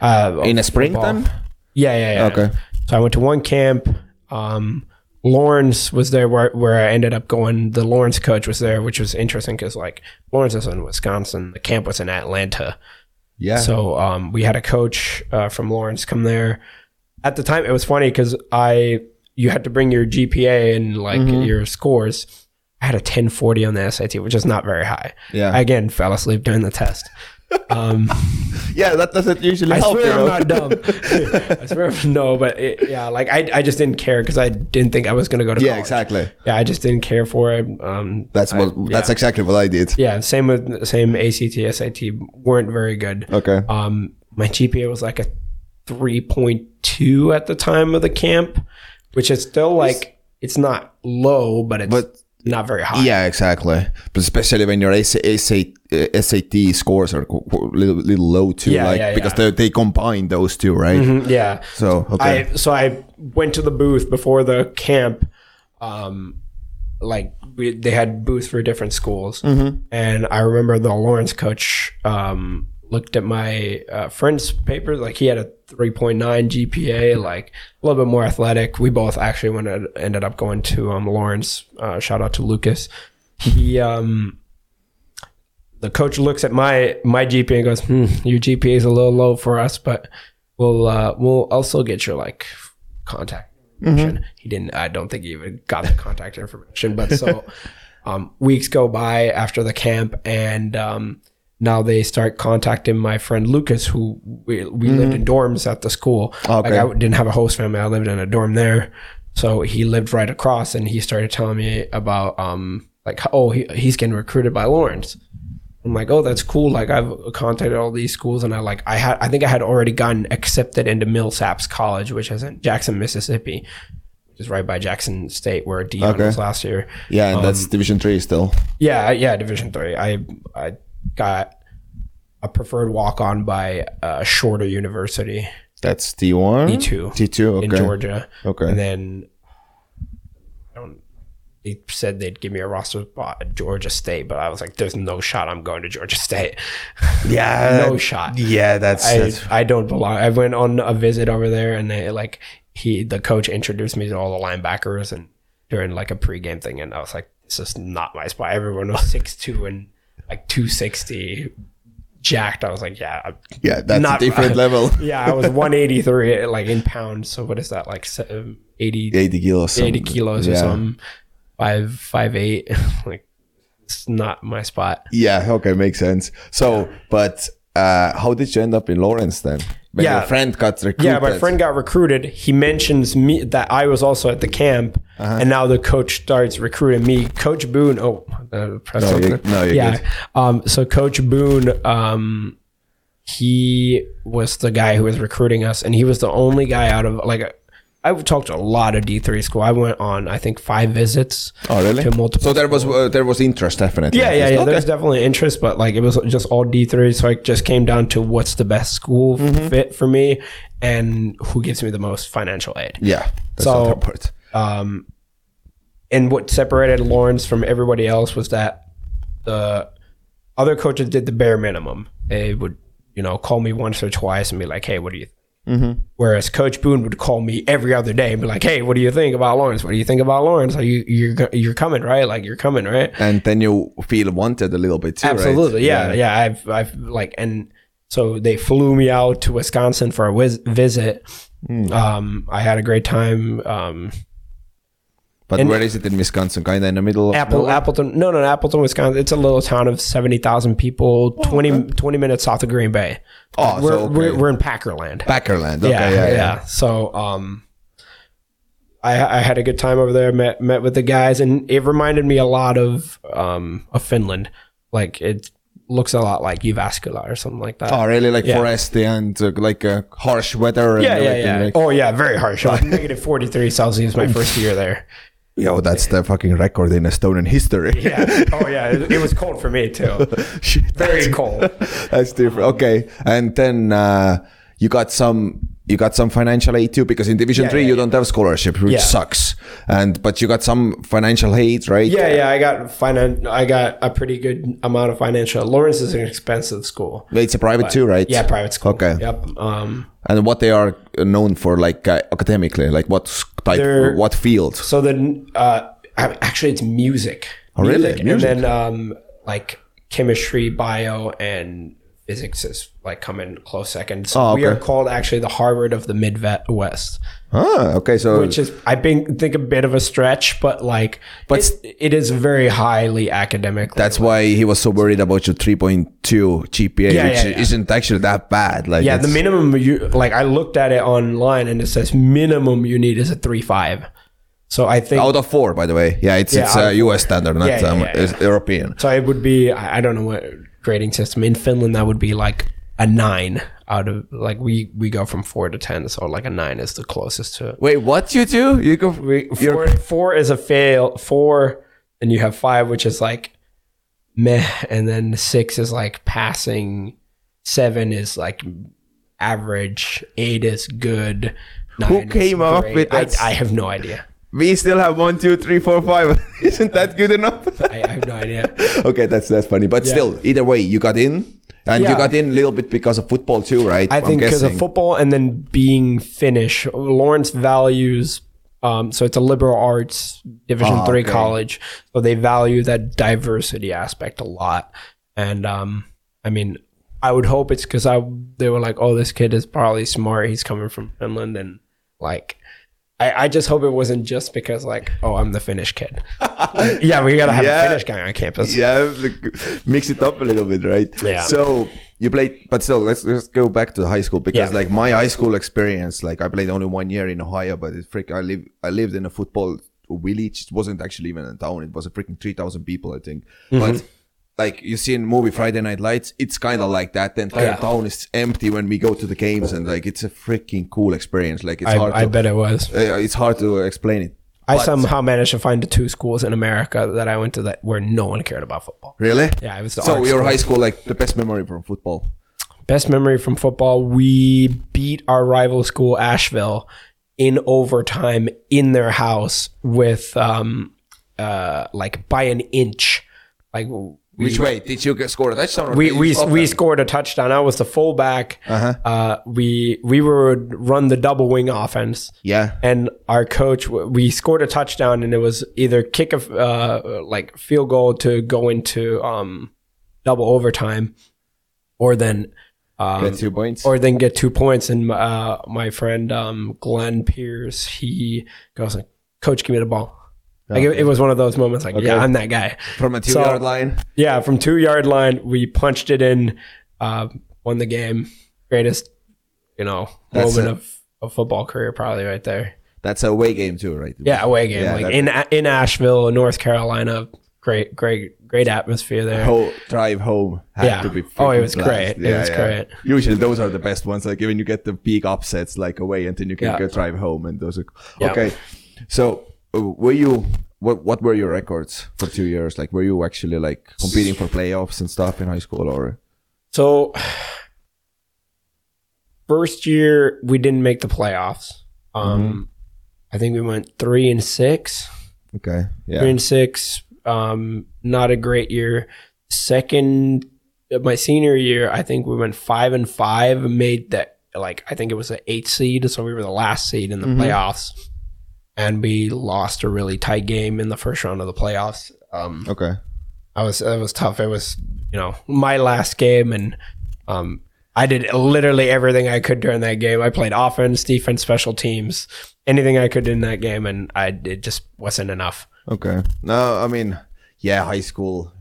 [SPEAKER 3] Uh,
[SPEAKER 2] In the
[SPEAKER 3] of football.
[SPEAKER 2] springtime.
[SPEAKER 3] Yeah, yeah, yeah.
[SPEAKER 2] Okay.
[SPEAKER 3] So I went to one camp. Um, Lawrence was there where, where I ended up going. The Lawrence coach was there, which was interesting because like Lawrence is in Wisconsin. The camp was in Atlanta.
[SPEAKER 2] Yeah.
[SPEAKER 3] So um, we had a coach uh, from Lawrence come there. At the time, it was funny because I you had to bring your GPA and like
[SPEAKER 2] Mm-hmm.
[SPEAKER 3] your scores. I had a 1040 on the SAT, which is not very high.
[SPEAKER 2] Yeah.
[SPEAKER 3] I again fell asleep during the test. (laughs) Um,
[SPEAKER 2] yeah, that doesn't usually
[SPEAKER 3] I
[SPEAKER 2] help. you
[SPEAKER 3] swear I'm
[SPEAKER 2] know?
[SPEAKER 3] not dumb. I swear I'm no, but it, yeah, like I, I just didn't care because I didn't think I was gonna go to
[SPEAKER 2] (laughs) Yeah,
[SPEAKER 3] college.
[SPEAKER 2] exactly.
[SPEAKER 3] Yeah, I just didn't care for it. Um,
[SPEAKER 2] That's what. That's exactly what I did.
[SPEAKER 3] yeah, same with same ACT, SAT weren't very good.
[SPEAKER 2] Okay.
[SPEAKER 3] Um, my GPA was like a 3.2 at the time of the camp, which is still like it's not low, but it's
[SPEAKER 2] But-
[SPEAKER 3] not very high.
[SPEAKER 2] yeah, exactly. But especially when your SA, uh, SAT scores are qu- qu- little little low too,
[SPEAKER 3] Yeah,
[SPEAKER 2] like
[SPEAKER 3] yeah,
[SPEAKER 2] because
[SPEAKER 3] yeah.
[SPEAKER 2] They, they combine those two, right?
[SPEAKER 3] Mhm, yeah.
[SPEAKER 2] So okay,
[SPEAKER 3] I so I went to the booth before the camp. Um, like we, they had booths for different schools, and I remember the Lawrence coach um, looked at my uh, friend's paper. Like he had a 3.9 GPA, like a little bit more athletic. We both actually went and ended up going to um, Lawrence. Uh, shout out to Lucas. He um, the coach looks at my my GPA and goes, hmm, "Your GPA is a little low for us, but we'll uh, we'll also get your like contact information." He didn't. I don't think he even got the contact information, but so Um, weeks go by after the camp, and um, now they start contacting my friend Lucas, who we, we lived in dorms at the school.
[SPEAKER 2] Okay.
[SPEAKER 3] Like I didn't have a host family; I lived in a dorm there. So he lived right across, and he started telling me about um, like oh he, he's getting recruited by Lawrence. I'm like, oh, that's cool. Like I've contacted all these schools, and I like I had I think I had already gotten accepted into Millsaps College, which is in Jackson, Mississippi, which is right by Jackson State, where Dion
[SPEAKER 2] Okay.
[SPEAKER 3] was last year.
[SPEAKER 2] Yeah, and
[SPEAKER 3] um,
[SPEAKER 2] that's Division Three still.
[SPEAKER 3] Yeah, yeah, Division Three. I I got a preferred walk on by a shorter university
[SPEAKER 2] That's T one.
[SPEAKER 3] D2.
[SPEAKER 2] T two. Hmm? Okay.
[SPEAKER 3] in Georgia.
[SPEAKER 2] Okay.
[SPEAKER 3] and then I don't. They said they'd give me a roster spot at Georgia State, but I was like, "There's no shot. I'm going to Georgia State. (laughs)
[SPEAKER 2] Yeah.
[SPEAKER 3] no shot.
[SPEAKER 2] Yeah, that's,
[SPEAKER 3] I,
[SPEAKER 2] that's
[SPEAKER 3] I don't belong. I went on a visit over there, and they like he the coach introduced me to all the linebackers and during like a pregame thing, and I was like, this is not my spot. Everyone was (laughs) six two and like two sixty, jacked. I was like, yeah, I'm-
[SPEAKER 2] yeah, that's
[SPEAKER 3] not-
[SPEAKER 2] a different
[SPEAKER 3] (laughs)
[SPEAKER 2] level.
[SPEAKER 3] yeah.
[SPEAKER 2] (laughs)
[SPEAKER 3] I was one eighty three like in pounds. So what is that like seven, 80,
[SPEAKER 2] Eighty kilos. some-
[SPEAKER 3] 80 kilos or
[SPEAKER 2] yeah.
[SPEAKER 3] something? Five five eight. (laughs) like it's not my spot.
[SPEAKER 2] Yeah. Okay, makes sense. So, but uh, how did you end up in Lawrence then? When
[SPEAKER 3] Yeah.
[SPEAKER 2] your friend got recruited.
[SPEAKER 3] Yeah, my friend got recruited. He mentions me that I was also at the camp,
[SPEAKER 2] Uh-huh.
[SPEAKER 3] and now the coach starts recruiting me. Coach Boone. Oh, uh, press
[SPEAKER 2] No,
[SPEAKER 3] something.
[SPEAKER 2] you- no, you're
[SPEAKER 3] yeah.
[SPEAKER 2] good.
[SPEAKER 3] Um, so Coach Boone, um, he was the guy who was recruiting us, and he was the only guy out of like. I talked to a lot of D three school. I went on, I think, five visits.
[SPEAKER 2] Oh, really?
[SPEAKER 3] To multiple
[SPEAKER 2] So there was uh, there was interest definitely.
[SPEAKER 3] yeah, yeah, yeah.
[SPEAKER 2] Okay.
[SPEAKER 3] There's definitely interest, but like it was just all D three, so I just came down to what's the best school fit for me, and who gives me the most financial aid.
[SPEAKER 2] Yeah. That's
[SPEAKER 3] So-
[SPEAKER 2] not important.
[SPEAKER 3] And what separated Lawrence from everybody else was that the other coaches did the bare minimum. They would, you know, call me once or twice and be like, "Hey, what do you?" Mm-hmm. Whereas Coach Boone would call me every other day and be like, "Hey, what do you think about Lawrence? What do you think about Lawrence? Are you you're go- you're coming right? Like you're coming right?"
[SPEAKER 2] And then you feel wanted a little bit too, right?
[SPEAKER 3] Absolutely, yeah, yeah, I've, I've like, and so they flew me out to Wisconsin for a wiz- visit.
[SPEAKER 2] Hmm.
[SPEAKER 3] Um, I had a great time. Um,
[SPEAKER 2] But where is it in Wisconsin? Kind of in the middle of
[SPEAKER 3] Apple,
[SPEAKER 2] nowhere?
[SPEAKER 3] Appleton, no, no, no, Appleton, Wisconsin. It's a little town of seventy thousand people, 20, 20 minutes south of Green Bay.
[SPEAKER 2] Oh, so
[SPEAKER 3] we're,
[SPEAKER 2] okay.
[SPEAKER 3] we're, we're in Packerland.
[SPEAKER 2] Packerland. Okay,
[SPEAKER 3] yeah,
[SPEAKER 2] yeah, yeah,
[SPEAKER 3] So, um, I, I had a good time over there. Met met with the guys, and it reminded me a lot of um of Finland. Like it looks a lot like Uvascula or something like that.
[SPEAKER 2] Oh, really? Like
[SPEAKER 3] Yeah.
[SPEAKER 2] foresty and uh, like uh, harsh weather. and
[SPEAKER 3] yeah, yeah,
[SPEAKER 2] everything,
[SPEAKER 3] yeah.
[SPEAKER 2] like-
[SPEAKER 3] oh, yeah, very harsh. Like, negative 43 Celsius my first year there.
[SPEAKER 2] (laughs) Yo, that's the fucking record in Estonian history.
[SPEAKER 3] Yeah. Oh, yeah. It, it was cold for me, too.
[SPEAKER 2] (laughs) Shit,
[SPEAKER 3] Very
[SPEAKER 2] that's-
[SPEAKER 3] cold.
[SPEAKER 2] That's different. Okay, and then uh, you got some. You got some financial aid too, because in Division
[SPEAKER 3] Yeah,
[SPEAKER 2] Three
[SPEAKER 3] yeah,
[SPEAKER 2] you don't have scholarship, which
[SPEAKER 3] Yeah.
[SPEAKER 2] sucks. And but you got some financial aid, right?
[SPEAKER 3] Yeah, yeah. I got finan- I got a pretty good amount of financial. Lawrence is an expensive school.
[SPEAKER 2] It's a private too, right?
[SPEAKER 3] Yeah, private school.
[SPEAKER 2] Okay.
[SPEAKER 3] Yep. Um,
[SPEAKER 2] And what they are known for, like uh, academically, like what s- type,
[SPEAKER 3] They're-
[SPEAKER 2] what field?
[SPEAKER 3] So then, uh, I- actually, it's music.
[SPEAKER 2] Oh, really? Music.
[SPEAKER 3] And then, um, like chemistry, bio, and physics is like come in close second. So
[SPEAKER 2] Oh,
[SPEAKER 3] we are
[SPEAKER 2] okay.
[SPEAKER 3] called actually the Harvard of the Midwest,
[SPEAKER 2] Ah, okay, so
[SPEAKER 3] which is I think think a bit of a stretch, but like,
[SPEAKER 2] But-
[SPEAKER 3] but it is very highly academic.
[SPEAKER 2] That's why he was so worried about your 3.2 GPA,
[SPEAKER 3] Yeah,
[SPEAKER 2] which
[SPEAKER 3] yeah, yeah.
[SPEAKER 2] isn't actually that bad. Like,
[SPEAKER 3] yeah,
[SPEAKER 2] it's-
[SPEAKER 3] the minimum you like. I looked at it online, and it says minimum you need is a three five. So I think
[SPEAKER 2] out of four, by the way. Yeah, it's
[SPEAKER 3] Yeah,
[SPEAKER 2] it's
[SPEAKER 3] out
[SPEAKER 2] uh,
[SPEAKER 3] of
[SPEAKER 2] US standard, not
[SPEAKER 3] Yeah, yeah,
[SPEAKER 2] um,
[SPEAKER 3] yeah, yeah.
[SPEAKER 2] it's European.
[SPEAKER 3] So it would be I I don't know what grading system in Finland that would be like a nine out of like we we go from four to ten, so like a nine is the closest to it.
[SPEAKER 2] Wait, what you do? You go.
[SPEAKER 3] Four, four is a fail. Four, and you have five, which is like meh, and then six is like passing. Seven is like average. Eight is good. Nine is
[SPEAKER 2] came up
[SPEAKER 3] great.
[SPEAKER 2] with
[SPEAKER 3] I,
[SPEAKER 2] that?
[SPEAKER 3] I have no idea.
[SPEAKER 2] we still have one, two, three, four, five. (laughs) isn't that good enough?
[SPEAKER 3] I, I have no idea.
[SPEAKER 2] (laughs) okay, that's that's funny. But still, either way, you got in, and you
[SPEAKER 3] Yeah.
[SPEAKER 2] got in a little bit because of football too, right?
[SPEAKER 3] I
[SPEAKER 2] I'm
[SPEAKER 3] think because of
[SPEAKER 2] guessing.
[SPEAKER 3] football and then being Finnish. Lawrence values, um, so it's a liberal arts Division
[SPEAKER 2] Ah,
[SPEAKER 3] three
[SPEAKER 2] okay.
[SPEAKER 3] college, so they value that diversity aspect a lot. And um, I mean, I would hope it's because I they were like, oh, this kid is probably smart. He's coming from Finland, and like I, I just hope it wasn't just because like, oh, I'm the Finnish
[SPEAKER 2] (laughs)
[SPEAKER 3] kid. yeah, we gotta have
[SPEAKER 2] Yeah.
[SPEAKER 3] a Finnish guy on campus.
[SPEAKER 2] (laughs) yeah, like, mix it up a little bit, right?
[SPEAKER 3] Yeah.
[SPEAKER 2] So you played, but still, let's let's go back to the high school because,
[SPEAKER 3] Yeah.
[SPEAKER 2] like, my high school experience, like, I played only one year in Ohio, but it's freak. I live, I lived in a football village. It wasn't actually even a town. It was a freaking three thousand people, I think.
[SPEAKER 3] Mm-hmm.
[SPEAKER 2] But like you see in movie Friday Night Lights, it's kind of like that. The entire
[SPEAKER 3] yeah.
[SPEAKER 2] town is empty when we go to the games, and like it's a freaking cool experience. Like it's
[SPEAKER 3] I,
[SPEAKER 2] hard.
[SPEAKER 3] I
[SPEAKER 2] to,
[SPEAKER 3] bet it was.
[SPEAKER 2] uh, it's hard to explain it.
[SPEAKER 3] I
[SPEAKER 2] But-
[SPEAKER 3] somehow managed to find the two schools in America that I went to that where no one cared about football.
[SPEAKER 2] Really?
[SPEAKER 3] Yeah, it was the
[SPEAKER 2] so
[SPEAKER 3] art
[SPEAKER 2] your
[SPEAKER 3] school.
[SPEAKER 2] high school, like the best memory from football.
[SPEAKER 3] Best memory from football: we beat our rival school Asheville in overtime in their house with um uh like by an inch, like.
[SPEAKER 2] Which way did you get- score a touchdown? Or
[SPEAKER 3] we
[SPEAKER 2] did you
[SPEAKER 3] we,
[SPEAKER 2] stop
[SPEAKER 3] we
[SPEAKER 2] them?
[SPEAKER 3] scored a touchdown. I was the fullback.
[SPEAKER 2] Uh-huh.
[SPEAKER 3] uh we we would run the double wing offense.
[SPEAKER 2] Yeah.
[SPEAKER 3] And our coach, w- we scored a touchdown, and it was either kick of uh, like field goal to go into um, double overtime, or then um,
[SPEAKER 2] Get two points.
[SPEAKER 3] or then get two points. And uh, my friend um, Glenn Pierce, he goes like, "Coach, give me the ball." Like it, it was one of those moments, like, "Yeah, I'm that guy."
[SPEAKER 2] from a two
[SPEAKER 3] So-
[SPEAKER 2] yard line.
[SPEAKER 3] Yeah, from two yard line, we punched it in, uh, won the game. Greatest, you know,
[SPEAKER 2] That's
[SPEAKER 3] moment
[SPEAKER 2] it.
[SPEAKER 3] of, of football career, probably right there.
[SPEAKER 2] That's a away game too, right?
[SPEAKER 3] Yeah, away game,
[SPEAKER 2] Yeah,
[SPEAKER 3] like in in Asheville, North Carolina. Great, great, great atmosphere there.
[SPEAKER 2] Whole drive home had
[SPEAKER 3] Yeah.
[SPEAKER 2] to be.
[SPEAKER 3] Oh, it
[SPEAKER 2] freaking
[SPEAKER 3] was
[SPEAKER 2] blast.
[SPEAKER 3] great. It was great.
[SPEAKER 2] Usually those are the best ones. Like when you get the big upsets, like away, and then you can
[SPEAKER 3] Yeah.
[SPEAKER 2] go drive home, and those are
[SPEAKER 3] Yeah.
[SPEAKER 2] okay. So uh, were you? What What were your records for two years? Like were you actually like competing for playoffs and stuff in high school, or
[SPEAKER 3] So, first year we didn't make the playoffs. Um, I think we went three and six.
[SPEAKER 2] okay? Yeah.
[SPEAKER 3] three and six. Um, not a great year. Second, my senior year, I think we went five and five. Made that like I think it was an eight seed, so we were the last seed in the playoffs, and we lost a really tight game in the first round of the playoffs. Um,
[SPEAKER 2] Okay.
[SPEAKER 3] I was it was tough. It was you know my last game, and um, I did literally everything I could during that game. I played offense, defense, special teams, anything I could in that game, and I it just wasn't enough.
[SPEAKER 2] Okay. No, I mean, yeah, high school,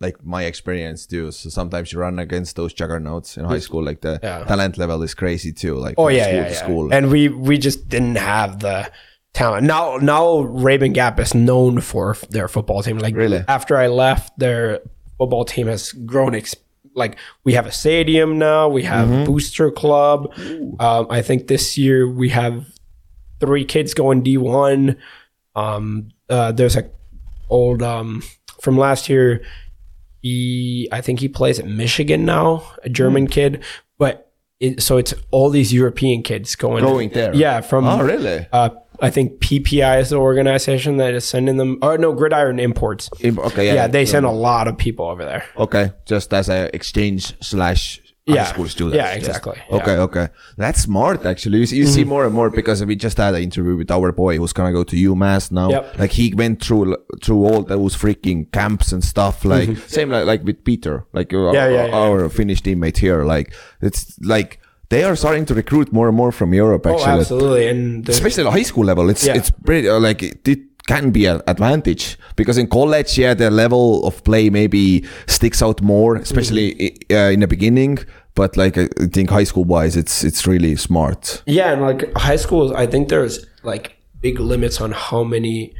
[SPEAKER 2] like my experience too. So sometimes you run against those juggernauts in high school. Like the
[SPEAKER 3] Yeah.
[SPEAKER 2] talent level is crazy too. Like
[SPEAKER 3] Oh
[SPEAKER 2] from
[SPEAKER 3] yeah,
[SPEAKER 2] school
[SPEAKER 3] yeah,
[SPEAKER 2] to
[SPEAKER 3] yeah.
[SPEAKER 2] school.
[SPEAKER 3] And we we just didn't have the talent. Now now Raven Gap is known for f- their football team. Like
[SPEAKER 2] Really?
[SPEAKER 3] after I left, their football team has grown. Ex- like we have a stadium now. We have
[SPEAKER 2] Mm-hmm.
[SPEAKER 3] booster club. Um, I think this year we have three kids going D one. Um, uh, there's a old um, from last year. He, I think he plays at Michigan now, a German
[SPEAKER 2] Hmm.
[SPEAKER 3] kid. But it, so it's all these European kids going
[SPEAKER 2] Going there.
[SPEAKER 3] Yeah, from
[SPEAKER 2] oh, really?
[SPEAKER 3] uh, I think PPI is the organization that is sending them. Oh no, Gridiron Imports.
[SPEAKER 2] Im- Okay.
[SPEAKER 3] Yeah,
[SPEAKER 2] Yeah.
[SPEAKER 3] they send a lot of people over there.
[SPEAKER 2] okay. Just as a exchange slash high
[SPEAKER 3] Yeah.
[SPEAKER 2] school students.
[SPEAKER 3] Yeah, Mm-hmm.
[SPEAKER 2] just-
[SPEAKER 3] exactly.
[SPEAKER 2] Okay. Okay. That's smart. Actually, you, see, you see more and more because we just had an interview with our boy who's gonna go to UMass now.
[SPEAKER 3] Yep.
[SPEAKER 2] Like he went through through all those freaking camps and stuff. Like same like like with Peter, like uh,
[SPEAKER 3] Mm-hmm. Yeah, yeah,
[SPEAKER 2] our,
[SPEAKER 3] yeah.
[SPEAKER 2] our Finnish teammate here. Like it's like they are starting to recruit more and more from Europe.
[SPEAKER 3] Oh,
[SPEAKER 2] Actually,
[SPEAKER 3] absolutely. And the,
[SPEAKER 2] especially at the high school level, it's
[SPEAKER 3] Yeah.
[SPEAKER 2] it's pretty uh, like it, it can be an advantage because in college, yeah, the level of play maybe sticks out more, especially i uh, in the beginning. But like I I think high school wise, it's it's really smart.
[SPEAKER 3] yeah, and like high schools, I think there's like big limits on how many.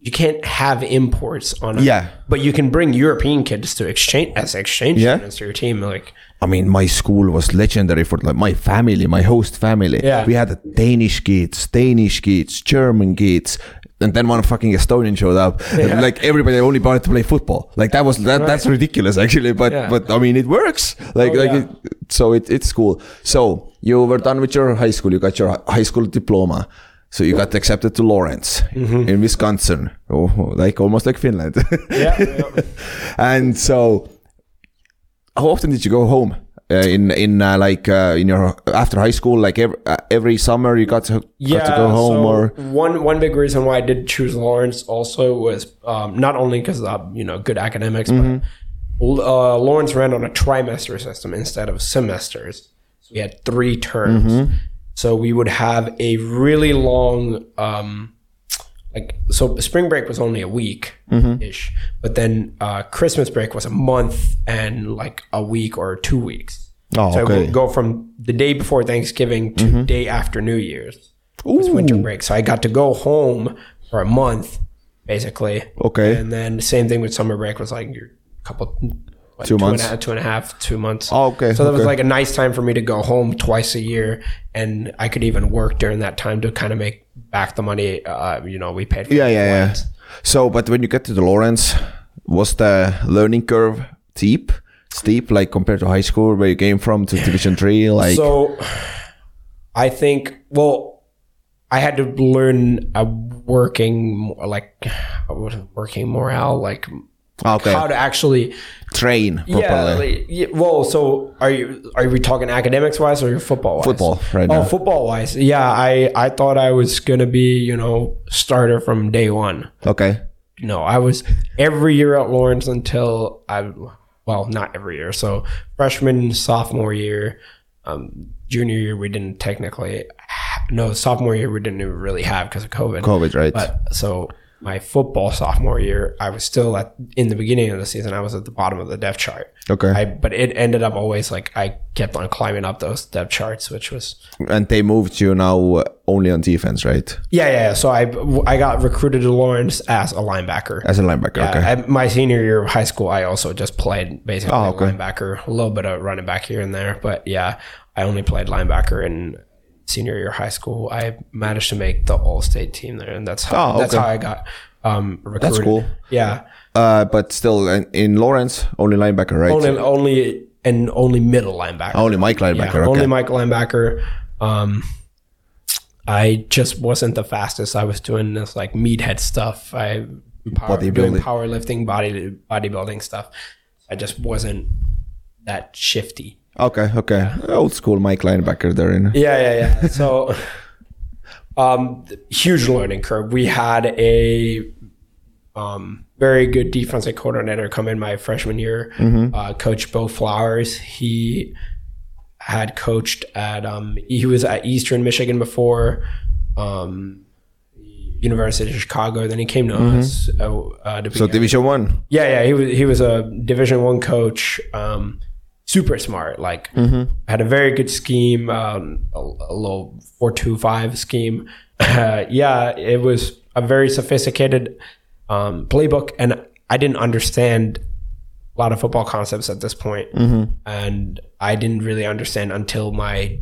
[SPEAKER 3] You can't have imports on. A,
[SPEAKER 2] Yeah.
[SPEAKER 3] but you can bring European kids to exchange as exchange
[SPEAKER 2] Yeah.
[SPEAKER 3] students to your team. Like
[SPEAKER 2] I mean, my school was legendary for like my family, my host family.
[SPEAKER 3] Yeah.
[SPEAKER 2] We had Danish kids, Danish kids, German kids. And then one fucking Estonian showed up. And (laughs) like everybody only wanted to play football. Like that was that, that's ridiculous actually. But
[SPEAKER 3] Yeah.
[SPEAKER 2] but I mean it works. Like
[SPEAKER 3] Oh,
[SPEAKER 2] like
[SPEAKER 3] yeah.
[SPEAKER 2] it, so it, it's cool. So you were done with your high school. You got your hi- high school diploma. So you got accepted to Lawrence in Wisconsin, oh, like almost like Finland.
[SPEAKER 3] Mm-hmm.
[SPEAKER 2] (laughs)
[SPEAKER 3] yeah,
[SPEAKER 2] and so, how often did you go home? Uh, in in uh, like uh, in your after high school, like every, uh, every summer you got to got to go home
[SPEAKER 3] so
[SPEAKER 2] or
[SPEAKER 3] one one big reason why I did choose Lawrence also was um, not only because uh, you know good academics,
[SPEAKER 2] Mm-hmm.
[SPEAKER 3] but L- uh,
[SPEAKER 2] Mm-hmm.
[SPEAKER 3] Lawrence ran on a trimester system instead of semesters. So we had three terms. So we would have a really long, um, like, so spring break was only a week
[SPEAKER 2] Mm-hmm.
[SPEAKER 3] ish, but then uh, Christmas break was a month and like a week or two weeks.
[SPEAKER 2] Oh,
[SPEAKER 3] so I
[SPEAKER 2] okay.
[SPEAKER 3] would go from the day before Thanksgiving to
[SPEAKER 2] Mm-hmm.
[SPEAKER 3] day after New Year's. was winter break. So I got to go home for a month, basically.
[SPEAKER 2] Okay.
[SPEAKER 3] And then same thing with summer break was like your couple what,
[SPEAKER 2] Two
[SPEAKER 3] two and a
[SPEAKER 2] months.
[SPEAKER 3] half- two and a half, two months.
[SPEAKER 2] Oh, okay,
[SPEAKER 3] So that was
[SPEAKER 2] okay.
[SPEAKER 3] like a nice time for me to go home twice a year, and I could even work during that time to kind of make back the money. Uh, you know, we paid. For
[SPEAKER 2] Yeah,
[SPEAKER 3] the
[SPEAKER 2] yeah, yeah.
[SPEAKER 3] flights.
[SPEAKER 2] So, but when you get to the Lawrence, was the learning curve steep? Steep, like compared to high school where you came from
[SPEAKER 3] (laughs)
[SPEAKER 2] to Division Three, like
[SPEAKER 3] So I think well, I had to learn a working like a working morale, like
[SPEAKER 2] okay,
[SPEAKER 3] how to actually
[SPEAKER 2] train properly.
[SPEAKER 3] like, yeah, well, so are you are we talking academics wise or football wise?
[SPEAKER 2] Football, right
[SPEAKER 3] oh,
[SPEAKER 2] now.
[SPEAKER 3] football wise. Yeah, I I thought I was gonna be you know starter from day one.
[SPEAKER 2] okay,
[SPEAKER 3] No, I was every year at Lawrence until I well not every year. So freshman, sophomore year, um, junior year we didn't technically ha- no sophomore year we didn't even really have because of COVID.
[SPEAKER 2] COVID, right?
[SPEAKER 3] But so my football sophomore year, I was still at in the beginning of the season. I was at the bottom of the depth chart.
[SPEAKER 2] okay,
[SPEAKER 3] I but it ended up always like I kept on climbing up those depth charts, which was
[SPEAKER 2] and they moved you now uh, only on defense, right?
[SPEAKER 3] yeah yeah. yeah. So I I got recruited to Lawrence as a linebacker.
[SPEAKER 2] As a linebacker, okay.
[SPEAKER 3] I, my senior year of high school, I also just played basically
[SPEAKER 2] Oh, okay.
[SPEAKER 3] linebacker, a little bit of running back here and there, but yeah, I only played linebacker in senior year of high school. I managed to make the All State team there, and that's how
[SPEAKER 2] Oh,
[SPEAKER 3] that's
[SPEAKER 2] okay.
[SPEAKER 3] how I got um, recruited.
[SPEAKER 2] cool.
[SPEAKER 3] Yeah,
[SPEAKER 2] Uh, but still, in, in Lawrence, only linebacker, right?
[SPEAKER 3] only only and only middle linebacker.
[SPEAKER 2] Only Mike linebacker.
[SPEAKER 3] Yeah,
[SPEAKER 2] okay.
[SPEAKER 3] only Mike linebacker. Um, I just wasn't the fastest. I was doing this like meathead stuff. I power, doing
[SPEAKER 2] Bodybuilding.
[SPEAKER 3] powerlifting, body bodybuilding stuff. I just wasn't that shifty.
[SPEAKER 2] okay, okay. Old school Mike linebacker there in.
[SPEAKER 3] Yeah, yeah, yeah. so, um, th- huge learning curve. We had a um, very good defensive coordinator come in my freshman year, uh, Coach Bo Flowers. He had coached at um, he was at Eastern Michigan before. Um, University of Chicago. Then he came to us. Uh, uh, to be
[SPEAKER 2] So Division One.
[SPEAKER 3] yeah, yeah, he was he was a Division One coach, um, super smart. Like had a very good scheme, um, a, a little four two five scheme. (laughs) Uh, yeah, it was a very sophisticated um, playbook, and I didn't understand a lot of football concepts at this point, and I didn't really understand until my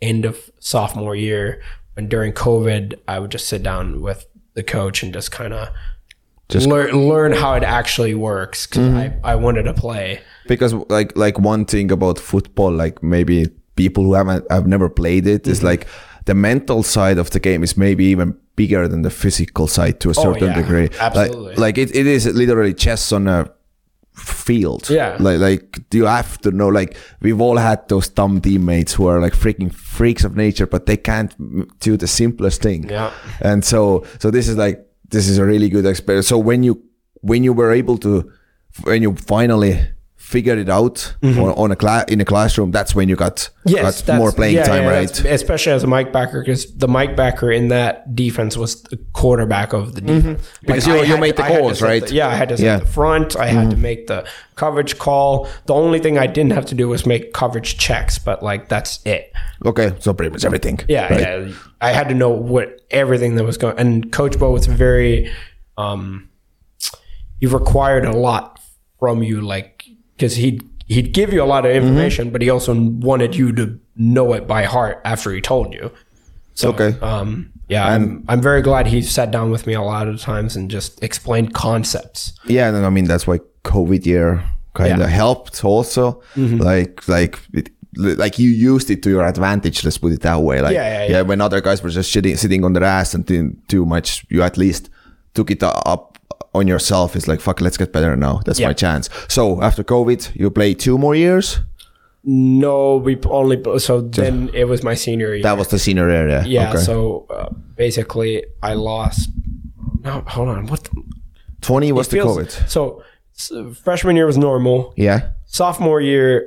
[SPEAKER 3] end of sophomore year. And during COVID, I would just sit down with the coach and just kind of
[SPEAKER 2] Just-
[SPEAKER 3] learn learn how it actually works because I, I wanted to play.
[SPEAKER 2] because like like one thing about football like maybe people who haven't have never played it
[SPEAKER 3] Mm-hmm.
[SPEAKER 2] is like the mental side of the game is maybe even bigger than the physical side to a certain
[SPEAKER 3] Oh, yeah.
[SPEAKER 2] degree Like-
[SPEAKER 3] Absolutely.
[SPEAKER 2] like, it, it is literally chess on a field
[SPEAKER 3] Yeah.
[SPEAKER 2] like like you have to know like we've all had those dumb teammates who are like freaking freaks of nature but they can't m- do the simplest thing
[SPEAKER 3] Yeah.
[SPEAKER 2] and so so this is like this is a really good experience so when you when you were able to when you finally figured it out on, on a class in a classroom that's when you got,
[SPEAKER 3] Mm-hmm. Yes,
[SPEAKER 2] got
[SPEAKER 3] that's,
[SPEAKER 2] more playing
[SPEAKER 3] yeah,
[SPEAKER 2] time
[SPEAKER 3] yeah,
[SPEAKER 2] right
[SPEAKER 3] that's- Especially as a mic backer because the mic backer in that defense was the quarterback of the defense.
[SPEAKER 2] Because
[SPEAKER 3] Mm-hmm. Like,
[SPEAKER 2] you-
[SPEAKER 3] I
[SPEAKER 2] you
[SPEAKER 3] had-
[SPEAKER 2] made the
[SPEAKER 3] I had to
[SPEAKER 2] calls,
[SPEAKER 3] set
[SPEAKER 2] right?
[SPEAKER 3] the- yeah, I had to set
[SPEAKER 2] Yeah.
[SPEAKER 3] the front. I had to make the coverage call. The only thing I didn't have to do was make coverage checks, but like that's it.
[SPEAKER 2] okay so pretty much everything
[SPEAKER 3] Yeah,
[SPEAKER 2] right?
[SPEAKER 3] yeah. I had to know what everything that was going. And Coach Bo was very, um, he required a lot from you, like because he'd he'd give you a lot of
[SPEAKER 2] Mm-hmm.
[SPEAKER 3] information, but he also wanted you to know it by heart after he told you. So,
[SPEAKER 2] Okay.
[SPEAKER 3] Um, yeah, I'm I'm very glad he sat down with me a lot of times and just explained concepts.
[SPEAKER 2] yeah and then, i mean that's why covid year kind of
[SPEAKER 3] Yeah. Mm-hmm.
[SPEAKER 2] helped also like like it, like you used it to your advantage let's put it that way like
[SPEAKER 3] Yeah, yeah, yeah.
[SPEAKER 2] when other guys were just sitting, sitting on their ass and doing too much you at least took it up on yourself it's like fuck let's get better now that's my
[SPEAKER 3] Yeah.
[SPEAKER 2] chance so after covid you play two more years
[SPEAKER 3] No, we only so then it was my senior year.
[SPEAKER 2] that was the senior area
[SPEAKER 3] yeah,
[SPEAKER 2] okay.
[SPEAKER 3] so uh, basically I lost. No, hold on. What? The,
[SPEAKER 2] 20 was the
[SPEAKER 3] feels-
[SPEAKER 2] covid
[SPEAKER 3] So, s- freshman year was normal.
[SPEAKER 2] yeah
[SPEAKER 3] Sophomore year,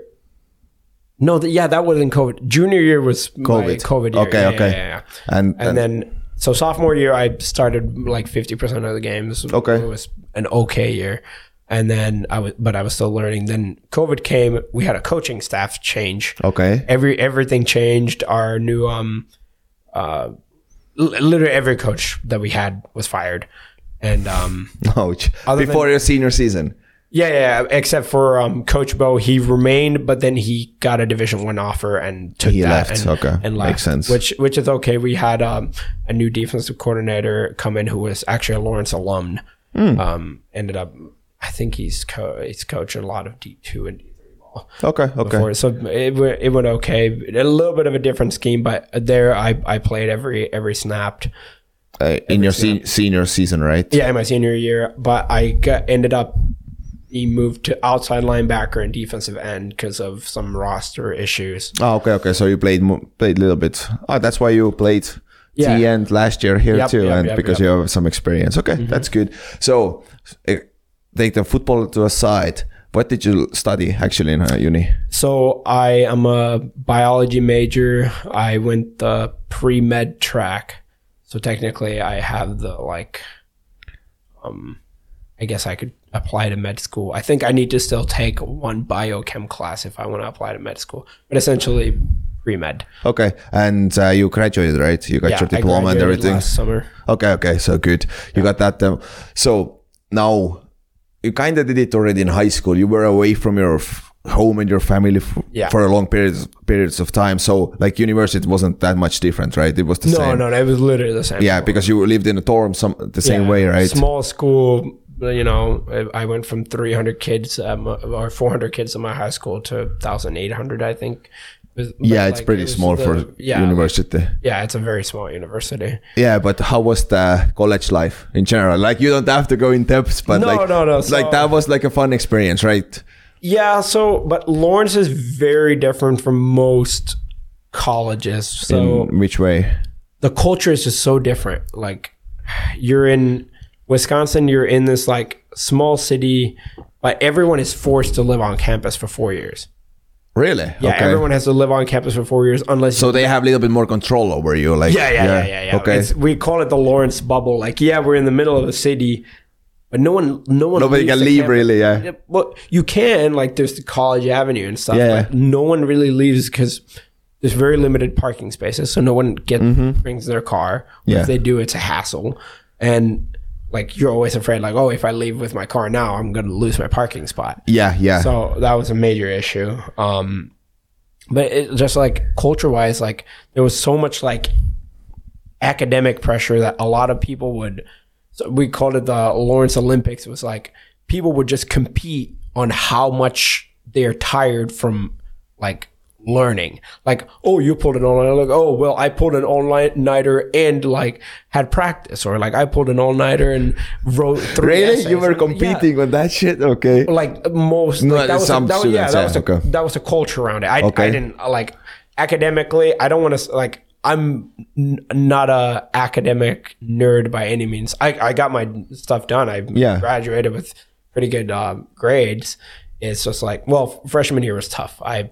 [SPEAKER 3] No, th- yeah, that wasn't COVID. Junior year was COVID.
[SPEAKER 2] COVID.
[SPEAKER 3] COVID year.
[SPEAKER 2] Okay,
[SPEAKER 3] Yeah,
[SPEAKER 2] okay.
[SPEAKER 3] yeah, yeah, yeah.
[SPEAKER 2] And,
[SPEAKER 3] And then, so sophomore year, I started like fifty percent of the games.
[SPEAKER 2] Okay.
[SPEAKER 3] it was an okay year, and then I was, but I was still learning. Then COVID came. We had a coaching staff change.
[SPEAKER 2] okay, (laughs)
[SPEAKER 3] Every everything changed. Our new um, uh, li- literally every coach that we had was fired, and um.
[SPEAKER 2] ouch.
[SPEAKER 3] Other
[SPEAKER 2] Before your senior season.
[SPEAKER 3] Yeah, yeah. yeah, Except for um, Coach Bo, he remained, but then he got a Division One offer and took
[SPEAKER 2] He
[SPEAKER 3] that
[SPEAKER 2] left,
[SPEAKER 3] And,
[SPEAKER 2] okay.
[SPEAKER 3] and
[SPEAKER 2] Makes
[SPEAKER 3] left,
[SPEAKER 2] sense.
[SPEAKER 3] Which which is okay. We had um, a new defensive coordinator come in who was actually a Lawrence alum.
[SPEAKER 2] Hmm.
[SPEAKER 3] Um, ended up, I think he's co- he's coached a lot of D two and D three ball
[SPEAKER 2] Okay, okay.
[SPEAKER 3] before. So it, went- it went okay. A little bit of a different scheme, but there I, I played every every snapped.
[SPEAKER 2] Uh, in your se- senior season, right?
[SPEAKER 3] Yeah, in my senior year, but I got, ended up he moved to outside linebacker and defensive end because of some roster issues.
[SPEAKER 2] Oh, okay, okay. So you played mo- played a little bit. Oh, that's why you played
[SPEAKER 3] Yeah.
[SPEAKER 2] T end last year here
[SPEAKER 3] Yep,
[SPEAKER 2] too,
[SPEAKER 3] yep,
[SPEAKER 2] and
[SPEAKER 3] yep,
[SPEAKER 2] because
[SPEAKER 3] yep. Mm-hmm.
[SPEAKER 2] you have some experience. Okay, that's good. So eh, take the football to a side. What did you study actually in uh, uni?
[SPEAKER 3] So I am a biology major. I went the pre med track, so technically I have the like, um, I guess I could apply to med school. I think I need to still take one biochem class if I want to apply to med school, but essentially pre med.
[SPEAKER 2] Okay, and uh, you graduated, right? You got your diploma and everything.
[SPEAKER 3] last summer.
[SPEAKER 2] Okay, okay, so good. You got that. Um, so now you kind of did it already in high school. You were away from your f- home and your family f-
[SPEAKER 3] Yeah.
[SPEAKER 2] for a long periods periods of time. So like university wasn't that much different, right? It was the
[SPEAKER 3] No,
[SPEAKER 2] same.
[SPEAKER 3] no, no, it was literally the same.
[SPEAKER 2] Yeah, because you lived in a dorm some the same
[SPEAKER 3] Yeah.
[SPEAKER 2] way, right?
[SPEAKER 3] Small school, you know, I- I went from 300 kids um, or 400 kids in my high school to 1,800, I think. But,
[SPEAKER 2] yeah,
[SPEAKER 3] like,
[SPEAKER 2] it's pretty
[SPEAKER 3] it was
[SPEAKER 2] small
[SPEAKER 3] the-
[SPEAKER 2] for
[SPEAKER 3] yeah,
[SPEAKER 2] university.
[SPEAKER 3] Yeah, it's a very small university.
[SPEAKER 2] yeah, but how was the college life in general? Like you don't have to go in depth, but
[SPEAKER 3] No,
[SPEAKER 2] like,
[SPEAKER 3] no, no,
[SPEAKER 2] like
[SPEAKER 3] so-
[SPEAKER 2] that was like a fun experience, right?
[SPEAKER 3] Yeah, so but Lawrence is very different from most colleges. So
[SPEAKER 2] in which way?
[SPEAKER 3] the culture is just so different. Like you're in Wisconsin, you're in this like small city, but everyone is forced to live on campus for 4 years.
[SPEAKER 2] Really?
[SPEAKER 3] Yeah, everyone has to live on campus for four years unless.
[SPEAKER 2] So they have a little bit more control over you, like
[SPEAKER 3] yeah, yeah, yeah, yeah, yeah.
[SPEAKER 2] Okay,
[SPEAKER 3] It's, we call it the Lawrence bubble. Like, yeah, we're in the middle of a city, but no one, no one,
[SPEAKER 2] nobody
[SPEAKER 3] leaves
[SPEAKER 2] can
[SPEAKER 3] the
[SPEAKER 2] leave
[SPEAKER 3] campus.
[SPEAKER 2] really. Yeah.
[SPEAKER 3] Yeah, Well, you can like there's the College Avenue and stuff,
[SPEAKER 2] Yeah.
[SPEAKER 3] but no one really leaves because there's very limited parking spaces, so no one get brings their car.
[SPEAKER 2] Mm-hmm. Yeah.
[SPEAKER 3] If they do, it's a hassle, and like you're always afraid, like, oh, if I leave with my car now, I'm gonna lose my parking spot.
[SPEAKER 2] yeah, yeah,
[SPEAKER 3] So that was a major issue. Um, but it, just like culture wise, like there was so much like academic pressure that a lot of people would. So we called it the Lawrence Olympics. It was like people would just compete on how much they're tired from like learning. Like, oh, you pulled an all-nighter. Like, oh, well, I pulled an all-nighter and like had practice, or like I pulled an all-nighter and wrote three.
[SPEAKER 2] Really,
[SPEAKER 3] essays.
[SPEAKER 2] you were
[SPEAKER 3] Yeah
[SPEAKER 2] competing on that shit? Okay.
[SPEAKER 3] like most
[SPEAKER 2] No,
[SPEAKER 3] like, that was
[SPEAKER 2] some
[SPEAKER 3] a, that, was- yeah,
[SPEAKER 2] students,
[SPEAKER 3] that
[SPEAKER 2] yeah,
[SPEAKER 3] was a,
[SPEAKER 2] okay.
[SPEAKER 3] that was a culture around it. I,
[SPEAKER 2] Okay.
[SPEAKER 3] I didn't like academically. I don't want to like I'm n- not a academic nerd by any means. I I got my stuff done. I
[SPEAKER 2] Yeah.
[SPEAKER 3] graduated with pretty good um, grades. It's just like well, freshman year was tough. I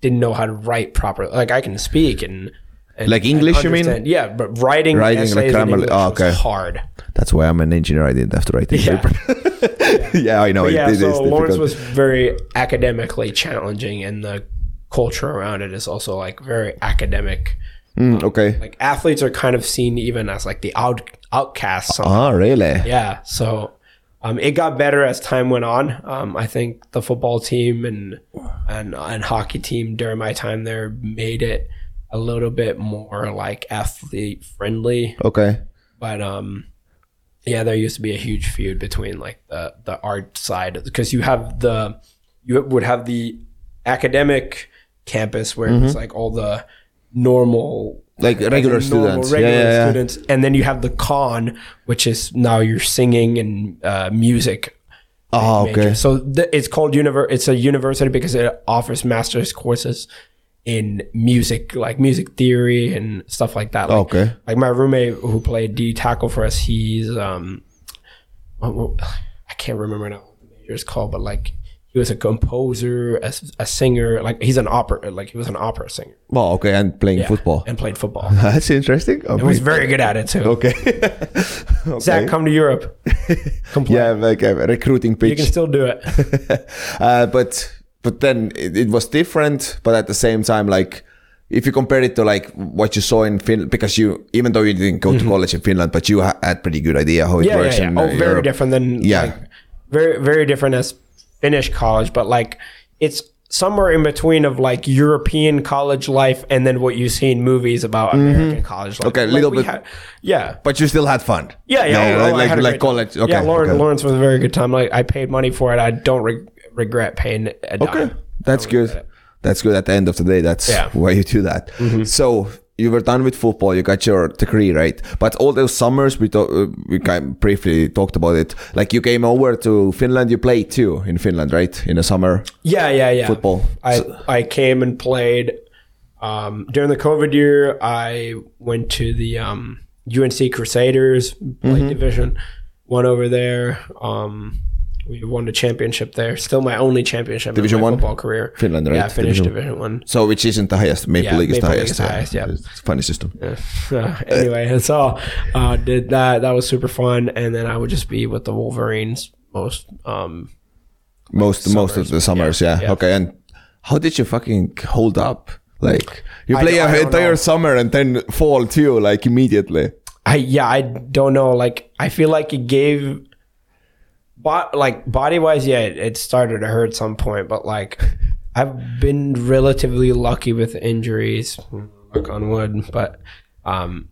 [SPEAKER 3] didn't know how to write properly. Like I can speak and. and-
[SPEAKER 2] Like
[SPEAKER 3] and
[SPEAKER 2] English, you mean?
[SPEAKER 3] understand. Yeah, but writing,
[SPEAKER 2] Writing, like
[SPEAKER 3] essays in
[SPEAKER 2] grammar-
[SPEAKER 3] English
[SPEAKER 2] oh,
[SPEAKER 3] was
[SPEAKER 2] okay.
[SPEAKER 3] hard.
[SPEAKER 2] That's why I'm an engineer. I didn't have to write the
[SPEAKER 3] Yeah.
[SPEAKER 2] paper. (laughs) yeah, I know.
[SPEAKER 3] But yeah,
[SPEAKER 2] it, it is
[SPEAKER 3] so Lawrence
[SPEAKER 2] difficult.
[SPEAKER 3] was very academically challenging, and the culture around it is also like very academic.
[SPEAKER 2] Mm, okay.
[SPEAKER 3] Like athletes are kind of seen even as like the out outcasts. some-
[SPEAKER 2] Ah, really?
[SPEAKER 3] Yeah, so um, it got better as time went on. Um, I think the football team and and and hockey team during my time there made it a little bit more like athlete friendly.
[SPEAKER 2] Okay.
[SPEAKER 3] But um, yeah, there used to be a huge feud between like the the art side because you have the you would have the academic campus where it's like all the normal
[SPEAKER 2] Like Mm-hmm. regular students.
[SPEAKER 3] regular
[SPEAKER 2] yeah, yeah, yeah.
[SPEAKER 3] students, and then you have the con, which is now you're singing and uh, music.
[SPEAKER 2] Ah,
[SPEAKER 3] major.
[SPEAKER 2] okay.
[SPEAKER 3] So th- it's called univer. It's a university because it offers master's courses in music, like music theory and stuff like that. Like,
[SPEAKER 2] Okay.
[SPEAKER 3] like my roommate who played D tackle for us, (sighs) he's um, what- what- I can't remember now what the major is called, but like he was a composer, a, a singer. Like he's an opera, like he was an opera singer
[SPEAKER 2] Well, okay, and playing
[SPEAKER 3] Yeah,
[SPEAKER 2] football.
[SPEAKER 3] and played football.
[SPEAKER 2] (laughs) That's interesting.
[SPEAKER 3] And
[SPEAKER 2] (laughs)
[SPEAKER 3] was very good at it too.
[SPEAKER 2] okay. okay.
[SPEAKER 3] Zach, come to Europe. Come play.
[SPEAKER 2] yeah, like a recruiting
[SPEAKER 3] you
[SPEAKER 2] pitch.
[SPEAKER 3] can still do it.
[SPEAKER 2] uh, but but then it, it was different but at the same time like if you compare it to like what you saw in Finland because you even though you didn't go to college in Finland but you ha- had pretty good idea how it
[SPEAKER 3] Mm-hmm. yeah,
[SPEAKER 2] works
[SPEAKER 3] yeah, yeah.
[SPEAKER 2] in
[SPEAKER 3] oh,
[SPEAKER 2] uh,
[SPEAKER 3] very
[SPEAKER 2] Europe.
[SPEAKER 3] different than
[SPEAKER 2] Yeah.
[SPEAKER 3] like, very very different as Finnish college, but like it's somewhere in between of like European college life and then what you see in movies about American college life.
[SPEAKER 2] Mm-hmm. Okay, a
[SPEAKER 3] Like,
[SPEAKER 2] little
[SPEAKER 3] we
[SPEAKER 2] bit-
[SPEAKER 3] had- yeah.
[SPEAKER 2] but you still had fun
[SPEAKER 3] Yeah, yeah,
[SPEAKER 2] no,
[SPEAKER 3] oh, I
[SPEAKER 2] like
[SPEAKER 3] had
[SPEAKER 2] like,
[SPEAKER 3] a great time.
[SPEAKER 2] college okay,
[SPEAKER 3] yeah, Lawrence,
[SPEAKER 2] okay.
[SPEAKER 3] Lawrence was a very good time. Like I paid money for it. I don't reg regret paying uh, a dime.
[SPEAKER 2] okay that's good that's good at the end of the day that's
[SPEAKER 3] Yeah. Mm-hmm.
[SPEAKER 2] why you do that so you were done with football you got your degree right but all those summers we talk, uh, we kind of briefly talked about it like you came over to Finland you played too in Finland right in the summer
[SPEAKER 3] Yeah, yeah, yeah.
[SPEAKER 2] Football.
[SPEAKER 3] I I came and played um, during the COVID year. I went to the um, UNC Crusaders, played
[SPEAKER 2] Mm-hmm.
[SPEAKER 3] Division One over there. Um, we won a championship there. Still my only championship
[SPEAKER 2] Division
[SPEAKER 3] in my
[SPEAKER 2] one?
[SPEAKER 3] football career.
[SPEAKER 2] Finland,
[SPEAKER 3] Yeah, I
[SPEAKER 2] right?
[SPEAKER 3] finished
[SPEAKER 2] Division-
[SPEAKER 3] Division One. (laughs)
[SPEAKER 2] So which isn't the highest? Maple
[SPEAKER 3] Yeah,
[SPEAKER 2] League is
[SPEAKER 3] Maple
[SPEAKER 2] the
[SPEAKER 3] League
[SPEAKER 2] highest.
[SPEAKER 3] is the highest, yeah.
[SPEAKER 2] It's a funny system.
[SPEAKER 3] Uh, anyway, (laughs) so uh, did that. That was super fun. And then I would just be with the Wolverines most. Um,
[SPEAKER 2] Most most of the summers, yeah,
[SPEAKER 3] yeah.
[SPEAKER 2] Okay, and how did you fucking hold up? Like you
[SPEAKER 3] I
[SPEAKER 2] play
[SPEAKER 3] don't-
[SPEAKER 2] an
[SPEAKER 3] I don't
[SPEAKER 2] entire
[SPEAKER 3] know.
[SPEAKER 2] summer and then fall too, like immediately.
[SPEAKER 3] I yeah, I don't know. Like I feel like it gave, but like body wise, yeah, it, it started to hurt some point.
[SPEAKER 2] (laughs)
[SPEAKER 3] But like, I've been relatively lucky with injuries, knock on wood. But um,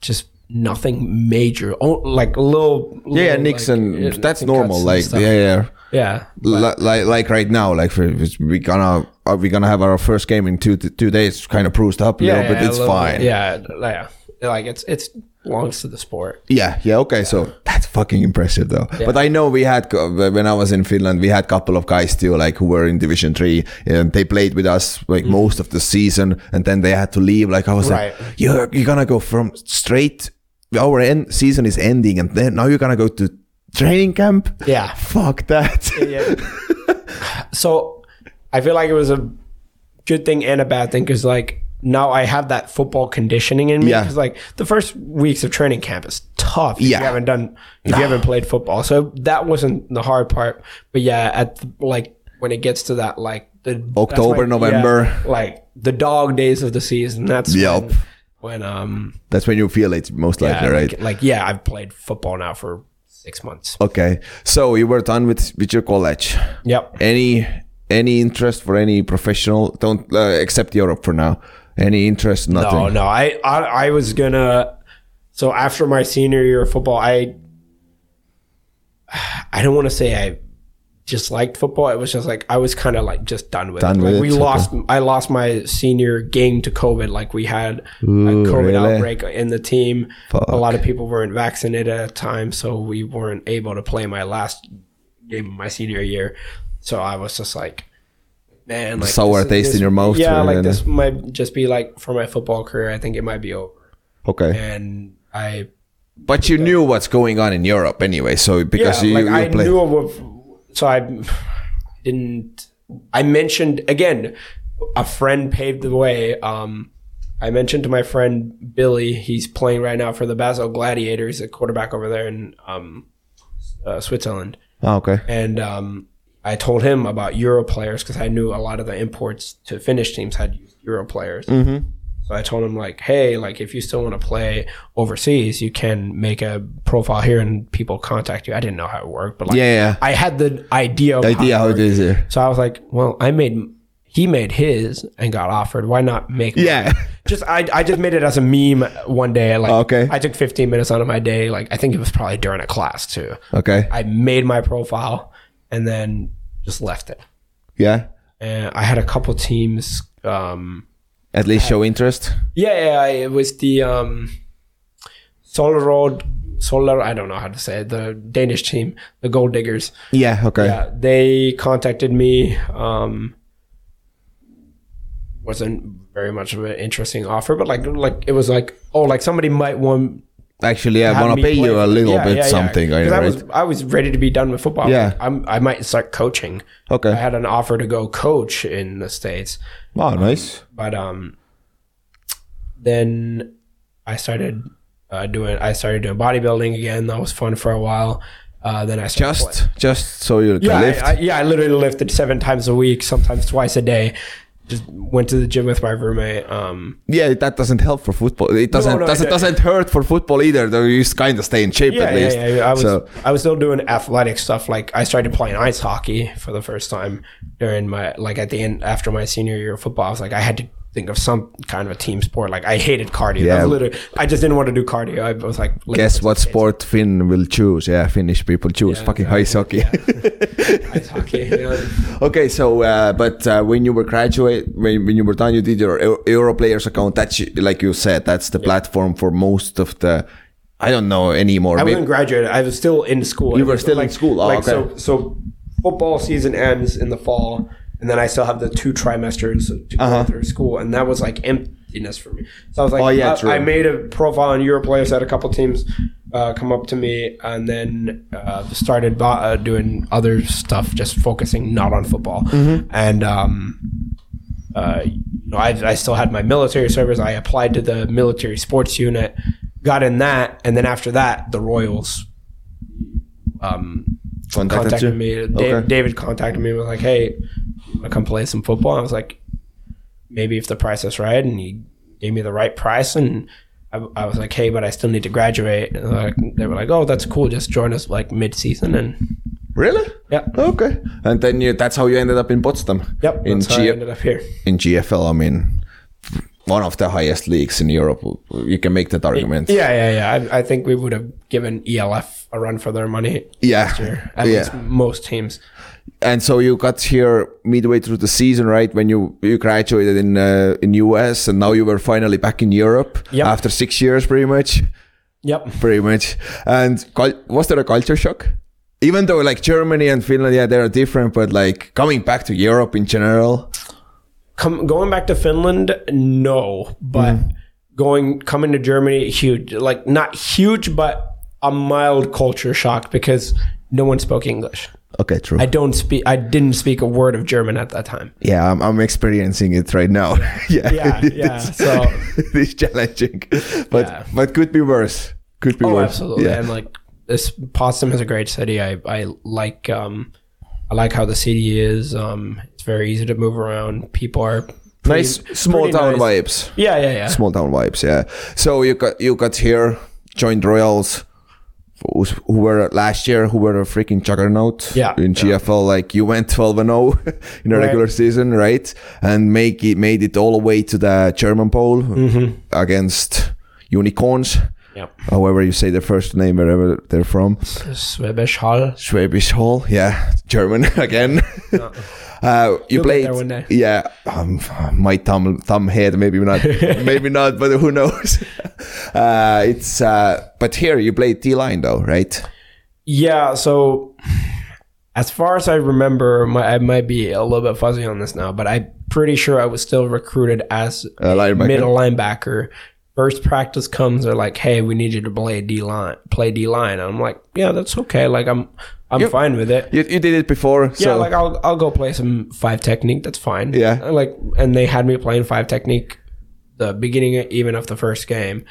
[SPEAKER 3] just nothing major. Oh, like little.
[SPEAKER 2] Yeah, yeah
[SPEAKER 3] little,
[SPEAKER 2] Nixon.
[SPEAKER 3] like, uh,
[SPEAKER 2] that's
[SPEAKER 3] cuts
[SPEAKER 2] normal.
[SPEAKER 3] and
[SPEAKER 2] Like
[SPEAKER 3] stuff.
[SPEAKER 2] yeah, yeah.
[SPEAKER 3] yeah.
[SPEAKER 2] Li- Like like right now, like for, we gonna are we gonna have our first game in two two days? Kind of bruised up a little, but
[SPEAKER 3] a
[SPEAKER 2] it's
[SPEAKER 3] little bit.
[SPEAKER 2] fine.
[SPEAKER 3] Yeah, yeah. Like it's it's belongs to the sport.
[SPEAKER 2] Yeah, yeah, okay. So that's fucking impressive, though. But I know we had co- when I was in Finland, we had a couple of guys too, like who were in Division Three, and they played with us like most of the season, and then they had to leave. Like I was
[SPEAKER 3] Mm. Right.
[SPEAKER 2] like, you're you're gonna go from straight. Our end season is ending, and then now you're gonna go to training camp.
[SPEAKER 3] Yeah.
[SPEAKER 2] Fuck that.
[SPEAKER 3] yeah. (laughs) so I feel like it was a good thing and a bad thing because like now I have that football conditioning in me
[SPEAKER 2] Yeah.
[SPEAKER 3] because like the first weeks of training camp is tough if
[SPEAKER 2] Yeah.
[SPEAKER 3] you haven't done if you haven't played football so that wasn't the hard part but yeah at the, like when it gets to that like the that's
[SPEAKER 2] October,
[SPEAKER 3] when-
[SPEAKER 2] November.
[SPEAKER 3] yeah, like the dog days of the season that's
[SPEAKER 2] Yep.
[SPEAKER 3] when, when um
[SPEAKER 2] That's when you feel it most likely,
[SPEAKER 3] yeah,
[SPEAKER 2] right?
[SPEAKER 3] like, like yeah I've played football now for six months
[SPEAKER 2] okay, so you were done with with your college.
[SPEAKER 3] yep
[SPEAKER 2] any any interest for any professional don't uh, except europe for now any interest nothing
[SPEAKER 3] No, no. I, I I was gonna. So after my senior year of football, I (sighs) I don't want to say I just liked football. It was just like I was kind of like just done with.
[SPEAKER 2] Done
[SPEAKER 3] it. Like
[SPEAKER 2] with
[SPEAKER 3] we
[SPEAKER 2] it,
[SPEAKER 3] lost. I lost my senior game to COVID. Like we had a COVID
[SPEAKER 2] really?
[SPEAKER 3] outbreak in the team.
[SPEAKER 2] Fuck.
[SPEAKER 3] A lot of people weren't vaccinated at the time, so we weren't able to play my last game of my senior year. So I was just like. Man, like
[SPEAKER 2] Sour
[SPEAKER 3] this is-
[SPEAKER 2] taste in
[SPEAKER 3] this-
[SPEAKER 2] your mouth,
[SPEAKER 3] Yeah,
[SPEAKER 2] or-
[SPEAKER 3] like this might just be like for my football career. I think it might be over.
[SPEAKER 2] okay
[SPEAKER 3] And I,
[SPEAKER 2] but you knew what's going on in europe anyway so
[SPEAKER 3] yeah,
[SPEAKER 2] because you,
[SPEAKER 3] like
[SPEAKER 2] you
[SPEAKER 3] I
[SPEAKER 2] play
[SPEAKER 3] knew of, so I (sighs) didn't. I mentioned again, a friend paved the way. Um, I mentioned to my friend Billy, he's playing right now for the Basel Gladiators, a quarterback over there in um, uh, Switzerland.
[SPEAKER 2] oh, okay
[SPEAKER 3] and um, I told him about Euro players because I knew a lot of the imports to Finnish teams had Euro players.
[SPEAKER 2] Mm.
[SPEAKER 3] So I told him like, hey, like if you still want to play overseas, you can make a profile here and people contact you. I didn't know how it worked, but like,
[SPEAKER 2] Yeah, yeah.
[SPEAKER 3] I had the idea of
[SPEAKER 2] idea how it
[SPEAKER 3] worked.
[SPEAKER 2] is here
[SPEAKER 3] So I was like, well, I made he made his and got offered. Why not make? mine?
[SPEAKER 2] Yeah.
[SPEAKER 3] just I, I just made it as a meme one day. Like
[SPEAKER 2] Okay.
[SPEAKER 3] I took 15 minutes out of my day. Like I think it was probably during a class too.
[SPEAKER 2] (laughs) okay
[SPEAKER 3] I made my profile and then just left it.
[SPEAKER 2] yeah
[SPEAKER 3] And I had a couple teams. Um,
[SPEAKER 2] at least show interest
[SPEAKER 3] yeah, yeah, it was the um, Solar Road, Solar, I don't know how to say it, the Danish team, the Gold Diggers.
[SPEAKER 2] yeah okay
[SPEAKER 3] Yeah, they contacted me. Um, wasn't very much of an interesting offer, but like, like it was like, oh, like somebody might want
[SPEAKER 2] actually, yeah,
[SPEAKER 3] had
[SPEAKER 2] want
[SPEAKER 3] me
[SPEAKER 2] to pay
[SPEAKER 3] play
[SPEAKER 2] you a
[SPEAKER 3] for-
[SPEAKER 2] little
[SPEAKER 3] yeah,
[SPEAKER 2] bit
[SPEAKER 3] yeah, yeah.
[SPEAKER 2] something,
[SPEAKER 3] 'Cause
[SPEAKER 2] I
[SPEAKER 3] I
[SPEAKER 2] know,
[SPEAKER 3] was
[SPEAKER 2] right?
[SPEAKER 3] I was ready to be done with football.
[SPEAKER 2] Yeah.
[SPEAKER 3] Like, I'm, I might start coaching.
[SPEAKER 2] Okay.
[SPEAKER 3] I had an offer to go coach in the states,
[SPEAKER 2] Wow, Ah, nice.
[SPEAKER 3] but um, then I started uh, doing I started doing bodybuilding again. That was fun for a while. Uh, then I started
[SPEAKER 2] Just, just so you can
[SPEAKER 3] yeah,
[SPEAKER 2] lift.
[SPEAKER 3] I, I, yeah, I literally lifted seven times a week, sometimes twice a day. Just went to the gym with my roommate. Um,
[SPEAKER 2] yeah, that doesn't help for football. It doesn't
[SPEAKER 3] no,
[SPEAKER 2] doesn't
[SPEAKER 3] it-
[SPEAKER 2] doesn't hurt for football either. Though you kind of stay in shape
[SPEAKER 3] yeah,
[SPEAKER 2] at
[SPEAKER 3] yeah,
[SPEAKER 2] least.
[SPEAKER 3] yeah, yeah. I was
[SPEAKER 2] so
[SPEAKER 3] I was still doing athletic stuff. Like I started playing ice hockey for the first time during my like at the end after my senior year of football. I was like I had to think of some kind of a team sport. Like I hated cardio.
[SPEAKER 2] Yeah.
[SPEAKER 3] I, literally, I just didn't want to do cardio. I was like,
[SPEAKER 2] guess what sport Finn will choose? Yeah, Finnish people choose fucking ice hockey.
[SPEAKER 3] ice hockey. you know?
[SPEAKER 2] (laughs) Okay, so uh, but uh, when you were graduate, when, when you were done, you did your Eu- Europlayers account. That's like you said, that's the platform for most of the. (laughs) I don't know anymore.
[SPEAKER 3] I
[SPEAKER 2] Maybe-
[SPEAKER 3] wasn't graduated. I was still in school.
[SPEAKER 2] You
[SPEAKER 3] It
[SPEAKER 2] were
[SPEAKER 3] was
[SPEAKER 2] still in school. Oh,
[SPEAKER 3] like,
[SPEAKER 2] okay.
[SPEAKER 3] So, so football season ends in the fall, and then I still have the two trimesters to go through school, and that was like emptiness for me. So I was like,
[SPEAKER 2] Uh-huh. Oh, yeah,
[SPEAKER 3] I-
[SPEAKER 2] true.
[SPEAKER 3] I, made a profile on Europlayer. So I had a couple teams uh, come up to me, and then uh, started bo- uh, doing other stuff, just focusing not on football,
[SPEAKER 2] Mm-hmm.
[SPEAKER 3] and. um uh, you know, I, I still had my military service. I applied to the military sports unit, got in that, and then after that, the Royals um,
[SPEAKER 2] Contacted
[SPEAKER 3] contacted
[SPEAKER 2] you?
[SPEAKER 3] me. Da-
[SPEAKER 2] Okay.
[SPEAKER 3] David contacted me and was like, "Hey, you wanna come play some football." And I was like, "Maybe if the price is right," and he gave me the right price and. I, I was like, hey, but I still need to graduate. And like, they were like, oh, that's cool. Just join us like mid-season, and
[SPEAKER 2] really?
[SPEAKER 3] yeah,
[SPEAKER 2] Okay, and then you, that's how you ended up in Potsdam.
[SPEAKER 3] yep.
[SPEAKER 2] in
[SPEAKER 3] that's how I
[SPEAKER 2] G-
[SPEAKER 3] ended up here.
[SPEAKER 2] in GFL. I mean, one of the highest leagues in Europe. You can make that argument.
[SPEAKER 3] Yeah, yeah, yeah. I, I think we would have given ELF a run for their money.
[SPEAKER 2] Yeah.
[SPEAKER 3] year, at
[SPEAKER 2] Yeah.
[SPEAKER 3] least most teams.
[SPEAKER 2] and so you got here midway through the season, right? When you you graduated in uh, in US, and now you were finally back in Europe
[SPEAKER 3] Yep.
[SPEAKER 2] after six years, pretty much,
[SPEAKER 3] Yep.
[SPEAKER 2] pretty much. And cul- was there a culture shock? Even though like Germany and Finland, yeah, they are different, but like coming back to Europe in general,
[SPEAKER 3] Come going back to Finland, no, but
[SPEAKER 2] Mm.
[SPEAKER 3] going coming to Germany, huge. Like not huge, but a mild culture shock because no one spoke English.
[SPEAKER 2] okay, true.
[SPEAKER 3] I don't speak. I didn't speak a word of German at that time.
[SPEAKER 2] yeah, I'm, I'm experiencing it right now. (laughs) yeah,
[SPEAKER 3] Yeah, yeah,
[SPEAKER 2] It's-
[SPEAKER 3] so-
[SPEAKER 2] (laughs) it's challenging, but
[SPEAKER 3] Yeah.
[SPEAKER 2] but could be worse. Could be
[SPEAKER 3] Oh,
[SPEAKER 2] worse.
[SPEAKER 3] absolutely.
[SPEAKER 2] Yeah.
[SPEAKER 3] And like this Potsdam is a great city. I, I like um I like how the city is. Um it's very easy to move around. People are pretty-
[SPEAKER 2] nice small
[SPEAKER 3] pretty
[SPEAKER 2] town
[SPEAKER 3] nice.
[SPEAKER 2] vibes.
[SPEAKER 3] Yeah, yeah, yeah.
[SPEAKER 2] small town vibes. Yeah. So you got you got here joined Royals, who's- who were last year who were a freaking juggernaut.
[SPEAKER 3] Yeah.
[SPEAKER 2] In GFL, like you went twelve and zero (laughs) in a
[SPEAKER 3] Right.
[SPEAKER 2] regular season, right? And make it made it all the way to the German Bowl
[SPEAKER 3] Mm-hmm.
[SPEAKER 2] against Unicorns.
[SPEAKER 3] Yep.
[SPEAKER 2] However, you say their first name wherever they're from.
[SPEAKER 3] Swedish Hall.
[SPEAKER 2] Schwäbisch Hall, yeah, (laughs) German again. (laughs) Uh, you
[SPEAKER 3] Uh-uh. You'll get
[SPEAKER 2] played,
[SPEAKER 3] there one day.
[SPEAKER 2] yeah. Um, my thumb, thumb head, maybe
[SPEAKER 3] (laughs)
[SPEAKER 2] not, maybe not, but who knows? (laughs) Uh, it's uh, but here you played T line though, right?
[SPEAKER 3] Yeah, so as far as I remember, my, I might be a little bit fuzzy on this now, but I'm pretty sure I was still recruited as
[SPEAKER 2] A linebacker.
[SPEAKER 3] middle linebacker. First practice comes, they're like, "Hey, we need you to play D line, play D line." I'm like, "Yeah, that's okay. Like, I'm, I'm fine with it."
[SPEAKER 2] You, you did it before,
[SPEAKER 3] Yeah,
[SPEAKER 2] so
[SPEAKER 3] like I'll I'll go play some five technique. That's fine.
[SPEAKER 2] Yeah.
[SPEAKER 3] And, like and they had me playing five technique, the beginning even of the first game.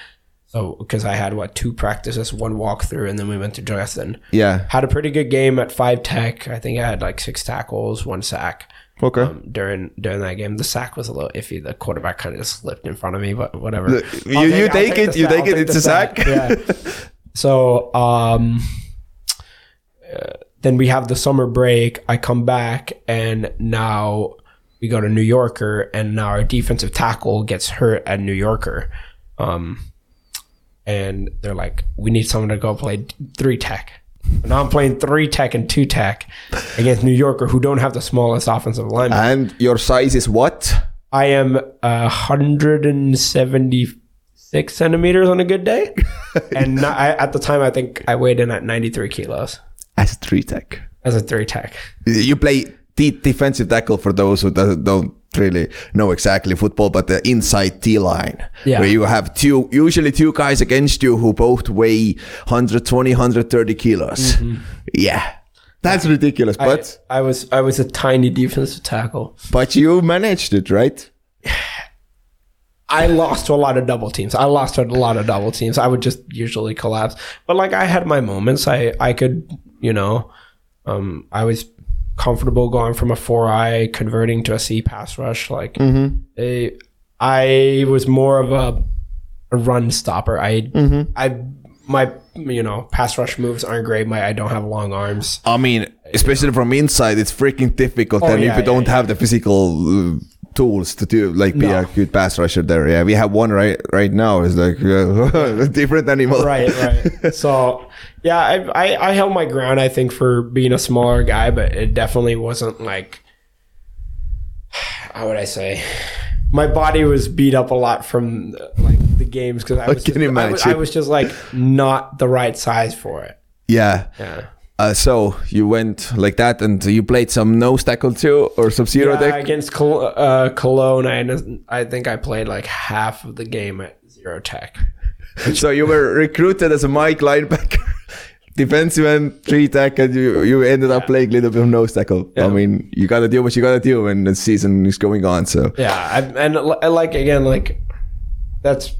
[SPEAKER 3] So because I had what two practices, one walkthrough, and then we went to Dresden.
[SPEAKER 2] yeah,
[SPEAKER 3] Had a pretty good game at five tech. I think I had like six tackles, one sack.
[SPEAKER 2] okay.
[SPEAKER 3] Um, during during that game, the sack was a little iffy. The quarterback kind of just slipped in front of me, but whatever.
[SPEAKER 2] Look,
[SPEAKER 3] I'll
[SPEAKER 2] you- you
[SPEAKER 3] I'll
[SPEAKER 2] take it,
[SPEAKER 3] the
[SPEAKER 2] you
[SPEAKER 3] sack,
[SPEAKER 2] take
[SPEAKER 3] I'll
[SPEAKER 2] it, it's
[SPEAKER 3] the
[SPEAKER 2] a sack. (laughs)
[SPEAKER 3] Yeah. so um, uh, then we have the summer break. I come back, and now we go to New Yorker, and now our defensive tackle gets hurt at New Yorker. Um, and they're like, we need someone to go play three tech. And I'm playing three tech and two tech against New Yorker, who don't have the smallest offensive lineman.
[SPEAKER 2] and your size is what?
[SPEAKER 3] I am uh, 176 centimeters on a good day, and not, I, at the time I think I weighed in at 93 kilos
[SPEAKER 2] As three tech.
[SPEAKER 3] as a three tech.
[SPEAKER 2] You play de- defensive tackle for those who doesn't- don't really know exactly football, but the inside T line
[SPEAKER 3] Yeah.
[SPEAKER 2] where you have two, usually two guys against you who both weigh 120, 130 kilos. Yeah. That's ridiculous, but
[SPEAKER 3] Mm-hmm. I, I was I was a tiny defensive tackle.
[SPEAKER 2] but you managed it, right?
[SPEAKER 3] I lost to a lot of double teams. I lost to a lot of double teams. I would just usually collapse. But like I had my moments. I I could, you know, um, I was comfortable going from a four eye converting to a C pass rush. Like eh, I was more of a, a run stopper. I I my you know pass rush moves aren't great. My I don't have long arms.
[SPEAKER 2] I mean, especially from inside, it's freaking difficult. and
[SPEAKER 3] Oh, yeah,
[SPEAKER 2] if you
[SPEAKER 3] yeah,
[SPEAKER 2] don't
[SPEAKER 3] yeah.
[SPEAKER 2] have the physical uh, tools to do, like be a
[SPEAKER 3] No.
[SPEAKER 2] good pass rusher there. Yeah, we have one right right now. It's like (laughs) uh, different animal.
[SPEAKER 3] right (laughs) right so yeah I, I i held my ground i think for being a smaller guy but it definitely wasn't like how would i say my body was beat up a lot from like the games because I, was
[SPEAKER 2] can
[SPEAKER 3] just- I, was- I
[SPEAKER 2] imagine.
[SPEAKER 3] was just like not the right size for it
[SPEAKER 2] (laughs) Yeah.
[SPEAKER 3] yeah
[SPEAKER 2] Uh, so you went like that, and you played some nose tackle too, or some zero
[SPEAKER 3] Uh,
[SPEAKER 2] tackle.
[SPEAKER 3] against Col- uh, cologne I, I think i played like half of the game at zero tech
[SPEAKER 2] So you were recruited as a Mike linebacker, (laughs) defensive end, three tackle. You you ended up playing a little bit of nose tackle. I mean, you gotta do what you gotta do when the season is going on. So
[SPEAKER 3] Yeah, I, and li- I like again, like that's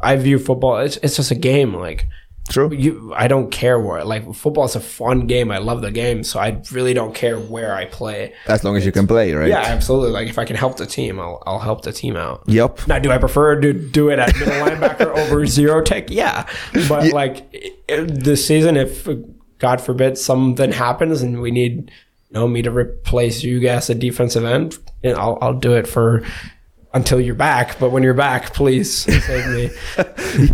[SPEAKER 3] I view football. It's it's just a game. Like
[SPEAKER 2] true.
[SPEAKER 3] you, I don't care where. Like football is a fun game. I love the game, so I really don't care where I play.
[SPEAKER 2] As long as you can play, right?
[SPEAKER 3] Yeah, absolutely. Like if I can help the team, I'll I'll help the team out.
[SPEAKER 2] Yep.
[SPEAKER 3] Now, do I prefer to do it at middle (laughs) linebacker over zero tech? Yeah, but like i- i- this season, if God forbid something happens and we need you know me to replace you guys at defensive end, you know, I'll I'll do it for until you're back. But when you're back, please save me.
[SPEAKER 2] (laughs)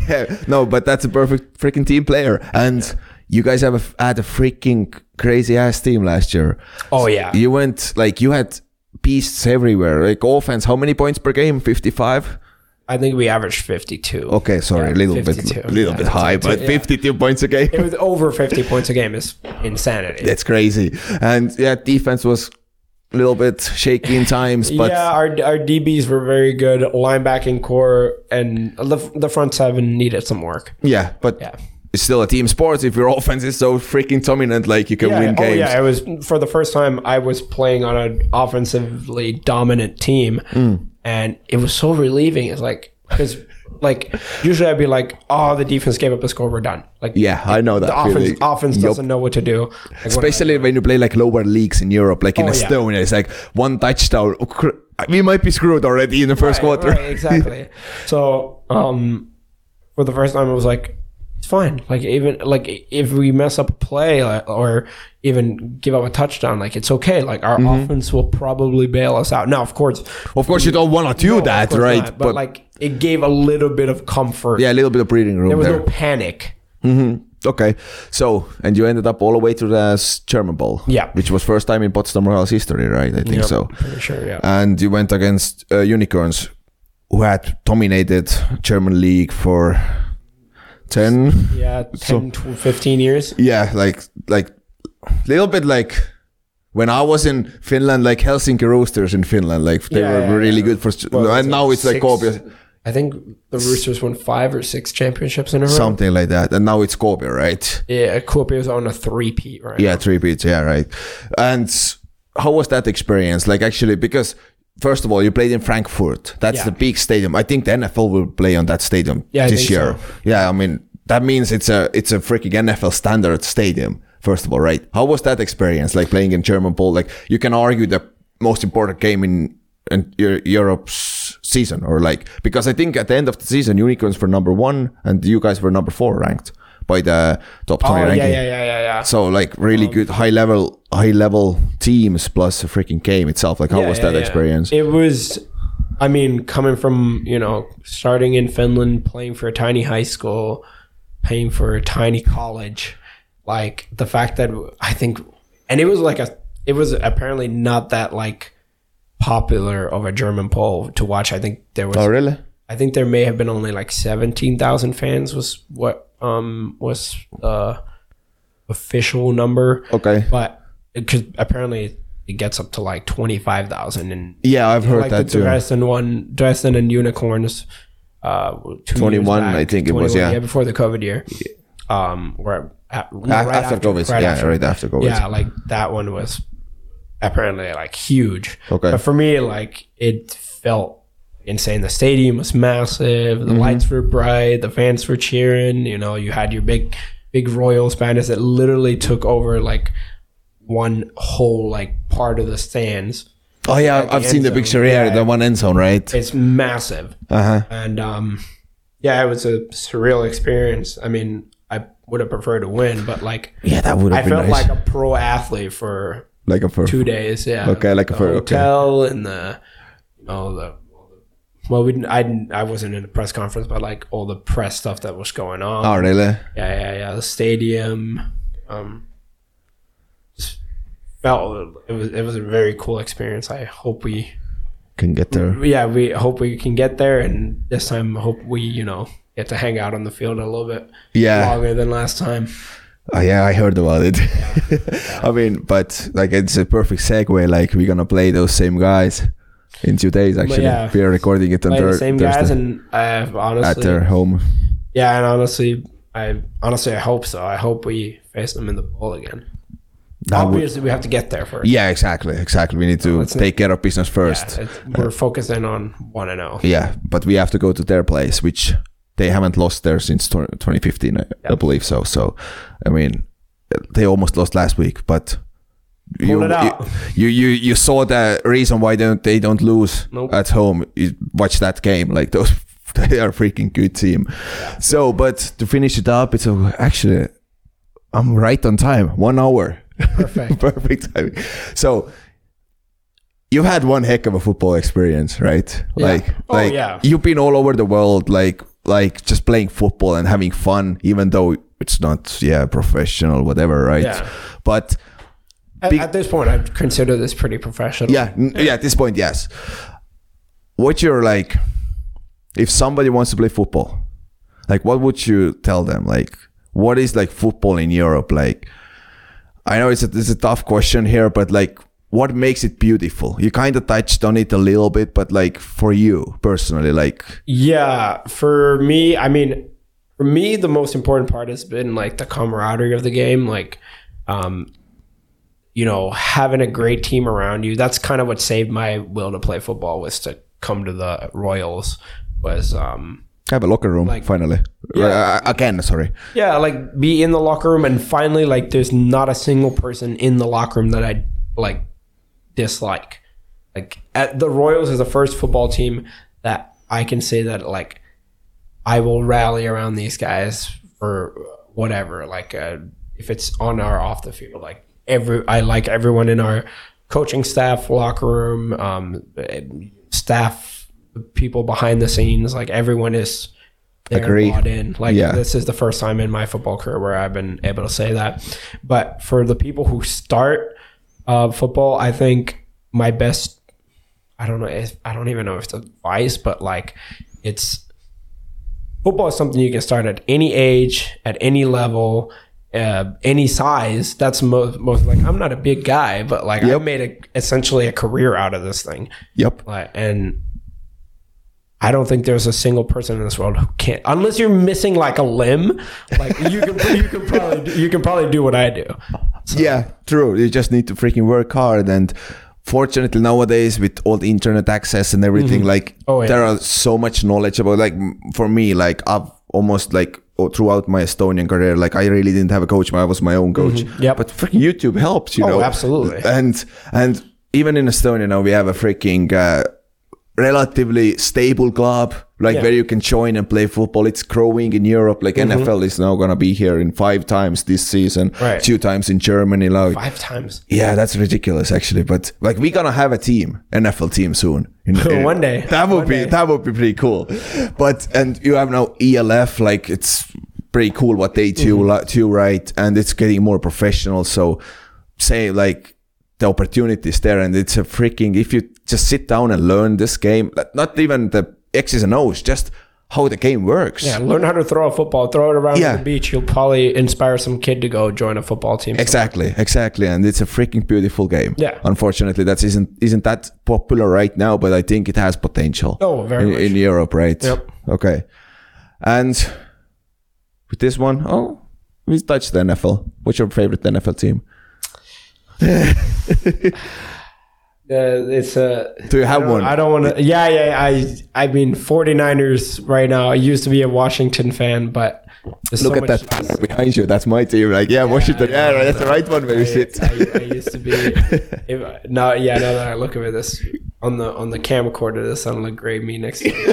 [SPEAKER 2] yeah, no, but that's a perfect freaking team player. And you guys have a, f- had a freaking crazy ass team last year.
[SPEAKER 3] Oh yeah,
[SPEAKER 2] You went like you had beasts everywhere. Like offense, how many points per game? Fifty-five.
[SPEAKER 3] I think we averaged 52.
[SPEAKER 2] Okay, sorry, a little
[SPEAKER 3] 52,
[SPEAKER 2] bit, a little
[SPEAKER 3] yeah,
[SPEAKER 2] bit high, but fifty-two points a game.
[SPEAKER 3] It was over 50 points a game is insanity.
[SPEAKER 2] That's crazy. And yeah, defense was a little bit shaky in times, but
[SPEAKER 3] yeah, our our DBs were very good. Linebacking core and the the front seven needed some work.
[SPEAKER 2] yeah, but.
[SPEAKER 3] Yeah.
[SPEAKER 2] It's still a team sport if your (laughs) offense is so freaking dominant, like you can
[SPEAKER 3] Yeah,
[SPEAKER 2] win
[SPEAKER 3] oh
[SPEAKER 2] games.
[SPEAKER 3] yeah, it was for the first time I was playing on an offensively dominant team,
[SPEAKER 2] Mm.
[SPEAKER 3] and it was so relieving. It's like because like usually I'd be like, oh, the defense gave up a score, we're done. Like
[SPEAKER 2] Yeah, I know that.
[SPEAKER 3] the offense
[SPEAKER 2] feeling.
[SPEAKER 3] offense
[SPEAKER 2] Yup.
[SPEAKER 3] doesn't know what to do. Like, when I-
[SPEAKER 2] Especially when you play like lower leagues in Europe, like in
[SPEAKER 3] Oh, yeah.
[SPEAKER 2] Estonia, it's like one touchdown. oh, cr- We might be screwed already in the first
[SPEAKER 3] Right,
[SPEAKER 2] quarter. (laughs)
[SPEAKER 3] right, exactly. so, um, for the first time, I was like, it's fine. Like even like if we mess up a play like, or even give up a touchdown, like it's okay. Like our
[SPEAKER 2] Mm-hmm.
[SPEAKER 3] offense will probably bail us out. Now, of course,
[SPEAKER 2] Of course, you don't want to do
[SPEAKER 3] no, of
[SPEAKER 2] that,
[SPEAKER 3] course
[SPEAKER 2] right?
[SPEAKER 3] not, But, like it gave a little bit of comfort.
[SPEAKER 2] yeah, a little bit of breathing room
[SPEAKER 3] there
[SPEAKER 2] there.
[SPEAKER 3] was no panic.
[SPEAKER 2] Mm-hmm. Okay, so and you ended up all the way to the s- German Bowl,
[SPEAKER 3] Yeah.
[SPEAKER 2] which was first time in Potsdam Royals history, right? I think
[SPEAKER 3] Yep,
[SPEAKER 2] so. Uh,
[SPEAKER 3] pretty sure. Yeah.
[SPEAKER 2] And you went against uh, unicorns, who had dominated German league for ten
[SPEAKER 3] yeah, 10, tw- 15 years.
[SPEAKER 2] yeah like like little bit like when I was in Finland, like Helsinki Roosters in Finland, like they
[SPEAKER 3] Yeah,
[SPEAKER 2] were
[SPEAKER 3] yeah,
[SPEAKER 2] really
[SPEAKER 3] yeah.
[SPEAKER 2] good for, st-
[SPEAKER 3] Well,
[SPEAKER 2] and now it's like
[SPEAKER 3] six-
[SPEAKER 2] Kobe,
[SPEAKER 3] I think the Roosters won five or six championships in a row.
[SPEAKER 2] something like that, and now it's Kobe, right?
[SPEAKER 3] Yeah, Kuopio's on a three-peat right
[SPEAKER 2] Yeah, three beats, yeah, right. And how was that experience? Like actually, because first of all, you played in Frankfurt. That's
[SPEAKER 3] Yeah.
[SPEAKER 2] the big stadium. I think the NFL will play on that stadium
[SPEAKER 3] Yeah, I
[SPEAKER 2] this
[SPEAKER 3] think
[SPEAKER 2] year.
[SPEAKER 3] so.
[SPEAKER 2] Yeah, I mean that means it's a it's a freaking NFL standard stadium. First of all, right? How was that experience? Like playing in German Bowl. Like you can argue the most important game in in Eu- Europe's season, or like because I think at the end of the season, unicorns were number one and you guys were number four ranked by the top
[SPEAKER 3] Oh,
[SPEAKER 2] twenty
[SPEAKER 3] yeah,
[SPEAKER 2] ranking.
[SPEAKER 3] yeah, yeah, yeah, yeah.
[SPEAKER 2] So like
[SPEAKER 3] Um,
[SPEAKER 2] really good high level high level teams plus the freaking game itself. Like how
[SPEAKER 3] Yeah,
[SPEAKER 2] was
[SPEAKER 3] yeah,
[SPEAKER 2] that
[SPEAKER 3] yeah.
[SPEAKER 2] experience?
[SPEAKER 3] It was, I mean, coming from, you know, starting in Finland, playing for a tiny high school, paying for a tiny college, like the fact that I think, and it was like a, it was apparently not that like popular of a German poll to watch. I think there was,
[SPEAKER 2] really?
[SPEAKER 3] I think there may have been only like 17,000 fans was what, um, was, uh, official number
[SPEAKER 2] Okay.
[SPEAKER 3] but because apparently it gets up to like twenty five thousand and
[SPEAKER 2] Yeah, I've heard
[SPEAKER 3] like
[SPEAKER 2] that
[SPEAKER 3] the
[SPEAKER 2] too.
[SPEAKER 3] Dresden one, Dresden and unicorns. Uh, two years
[SPEAKER 2] 21,
[SPEAKER 3] back,
[SPEAKER 2] I think it was,
[SPEAKER 3] 21,
[SPEAKER 2] yeah.
[SPEAKER 3] before the COVID year. Um, where at, no,
[SPEAKER 2] A- after COVID, yeah, right after COVID.
[SPEAKER 3] Yeah, like that one was apparently like huge.
[SPEAKER 2] Okay.
[SPEAKER 3] but for me, like it felt insane. The stadium was massive. The
[SPEAKER 2] Mm-hmm.
[SPEAKER 3] lights were bright. The fans were cheering. You know, you had your big, big Royals banners that literally took over like one whole like part of the stands.
[SPEAKER 2] Oh yeah, I've
[SPEAKER 3] the
[SPEAKER 2] seen
[SPEAKER 3] end
[SPEAKER 2] the
[SPEAKER 3] zone.
[SPEAKER 2] picture here,
[SPEAKER 3] Yeah.
[SPEAKER 2] the one end zone, right?
[SPEAKER 3] It's massive.
[SPEAKER 2] Uh huh.
[SPEAKER 3] and um, yeah, it was a surreal experience. I mean, I would have preferred to win, but like,
[SPEAKER 2] Yeah, that would
[SPEAKER 3] I
[SPEAKER 2] have been
[SPEAKER 3] felt
[SPEAKER 2] nice.
[SPEAKER 3] like a pro athlete for
[SPEAKER 2] like a fur.
[SPEAKER 3] two days. Yeah,
[SPEAKER 2] Okay, like a
[SPEAKER 3] the
[SPEAKER 2] pro- okay.
[SPEAKER 3] hotel and the you know the well, we didn't, I didn't, I wasn't in a press conference, but like all the press stuff that was going on.
[SPEAKER 2] Oh really?
[SPEAKER 3] Yeah, yeah, yeah. The stadium. Um, just felt it was it was a very cool experience. I hope we
[SPEAKER 2] Can get there.
[SPEAKER 3] yeah, we hope we can get there, and this time I hope we, you know, get to hang out on the field a little bit
[SPEAKER 2] Yeah.
[SPEAKER 3] longer than last time.
[SPEAKER 2] Oh, yeah, I heard about it. (laughs) I mean, but like it's a perfect segue. Like we're gonna play those same guys in two days. Actually,
[SPEAKER 3] yeah.
[SPEAKER 2] we are recording it on
[SPEAKER 3] Play
[SPEAKER 2] thir-
[SPEAKER 3] the same guys,
[SPEAKER 2] Thursday
[SPEAKER 3] and I
[SPEAKER 2] at
[SPEAKER 3] honestly,
[SPEAKER 2] their home.
[SPEAKER 3] yeah, and honestly, I honestly I hope so. I hope we face them in the bowl again.
[SPEAKER 2] That would-
[SPEAKER 3] Obviously, we have to get there first.
[SPEAKER 2] yeah, exactly, exactly. We need to
[SPEAKER 3] it's-
[SPEAKER 2] take care of business first.
[SPEAKER 3] Yeah, it's- we're focusing on one and oh. zero.
[SPEAKER 2] Yeah, but we have to go to their place, which they haven't lost there since tw- 2015, I, I believe so. So, I mean, they almost lost last week, but you,
[SPEAKER 3] it out.
[SPEAKER 2] you you you saw the reason why don't they don't lose
[SPEAKER 3] Nope.
[SPEAKER 2] at home. You watch that game, like (laughs) those they are a freaking good team. So, but to finish it up, it's a, actually I'm right on time, one hour. (laughs)
[SPEAKER 3] Perfect.
[SPEAKER 2] Perfect timing. So you've had one heck of a football experience, right? Like
[SPEAKER 3] Oh,
[SPEAKER 2] like
[SPEAKER 3] yeah.
[SPEAKER 2] you've been all over the world, like like just playing football and having fun, even though it's not yeah, professional, whatever, right?
[SPEAKER 3] Yeah.
[SPEAKER 2] But
[SPEAKER 3] At,
[SPEAKER 2] Big-
[SPEAKER 3] at this point, I consider this pretty professional.
[SPEAKER 2] yeah, n- yeah, at this point, yes. What you're like if somebody wants to play football, like what would you tell them? Like what is like football in Europe like? I know it's a, it's a tough question here, but like, what makes it beautiful? You kind of touched on it a little bit, but like for you personally, like,
[SPEAKER 3] Yeah, for me, I mean, for me, the most important part has been like the camaraderie of the game, like, um, you know, having a great team around you. That's kind of what saved my will to play football was to come to the Royals. Was um,
[SPEAKER 2] have a locker room finally.
[SPEAKER 3] Yeah.
[SPEAKER 2] Uh, again, sorry.
[SPEAKER 3] yeah, like be in the locker room and finally like there's not a single person in the locker room that I like dislike. Like at the Royals is the first football team that I can say that like I will rally around these guys for whatever. Like uh, if it's on or off the field, like every I like everyone in our coaching staff, locker room, um, staff, people behind the scenes. Like everyone is there
[SPEAKER 2] Agree.
[SPEAKER 3] bought in. Like
[SPEAKER 2] Yeah.
[SPEAKER 3] this is the first time in my football career where I've been able to say that. But for the people who start uh, football, I think my best. I don't know. If, I don't even know if it's advice, but like, it's football is something you can start at any age, at any level, uh, any size. That's most, most like I'm not a big guy, but like I made a, essentially a career out of this thing.
[SPEAKER 2] Yep.
[SPEAKER 3] Like, and I don't think there's a single person in this world who can't, unless you're missing like a limb. Like you can, (laughs) you can probably, do, you can probably do what I do.
[SPEAKER 2] Yeah, true. You just need to freaking work hard and fortunately nowadays with all the internet access and everything like
[SPEAKER 3] Oh, yeah.
[SPEAKER 2] there are so much knowledge about like m- for me like I've almost like o- throughout my Estonian career like I really didn't have a coach, but I was my own coach.
[SPEAKER 3] Mm-hmm. Yep.
[SPEAKER 2] But freaking YouTube helps, you
[SPEAKER 3] Oh,
[SPEAKER 2] know.
[SPEAKER 3] absolutely.
[SPEAKER 2] And and even in Estonia now we have a freaking uh, relatively stable club like
[SPEAKER 3] Yeah. Mm-hmm.
[SPEAKER 2] where you can join and play football it's growing in europe like nfl is now gonna be here in five times this season
[SPEAKER 3] Right.
[SPEAKER 2] two times in germany like
[SPEAKER 3] Five times.
[SPEAKER 2] yeah, that's ridiculous, actually. But like, we're gonna have a team, NFL team soon.
[SPEAKER 3] (laughs)
[SPEAKER 2] In- in-
[SPEAKER 3] One day.
[SPEAKER 2] (laughs) That would
[SPEAKER 3] One
[SPEAKER 2] be
[SPEAKER 3] day.
[SPEAKER 2] that would be pretty cool. But and you have now ELF, like it's pretty cool what they do,
[SPEAKER 3] Mm-hmm.
[SPEAKER 2] li- do right, and it's getting more professional. So say like the opportunities there, and it's a freaking if you just sit down and learn this game, like, not even the X's and O's, just how the game works.
[SPEAKER 3] Yeah, learn how to throw a football. Throw it around
[SPEAKER 2] Yeah.
[SPEAKER 3] the beach. You'll probably inspire some kid to go join a football team.
[SPEAKER 2] Exactly, exactly, and it's a freaking beautiful game.
[SPEAKER 3] Yeah.
[SPEAKER 2] Unfortunately, that isn't isn't that popular right now, but I think it has potential.
[SPEAKER 3] Oh, very
[SPEAKER 2] in,
[SPEAKER 3] much.
[SPEAKER 2] in Europe, right?
[SPEAKER 3] Yep.
[SPEAKER 2] Okay, and with this one, oh, we touched the NFL. What's your favorite NFL team?
[SPEAKER 3] Uh, it's a.
[SPEAKER 2] Do you have one?
[SPEAKER 3] I don't want to. Yeah, yeah. I I mean, 49ers right now. I used to be a Washington fan, but there's so
[SPEAKER 2] Look at
[SPEAKER 3] much-
[SPEAKER 2] that (laughs) behind you. That's my team. Like, yeah, Washington. Yeah, right, that's the right one where you sit.
[SPEAKER 3] I, I used to be. If, no, yeah. Now that I look over this on the on the camcorder, this sounded like Gray Me next to the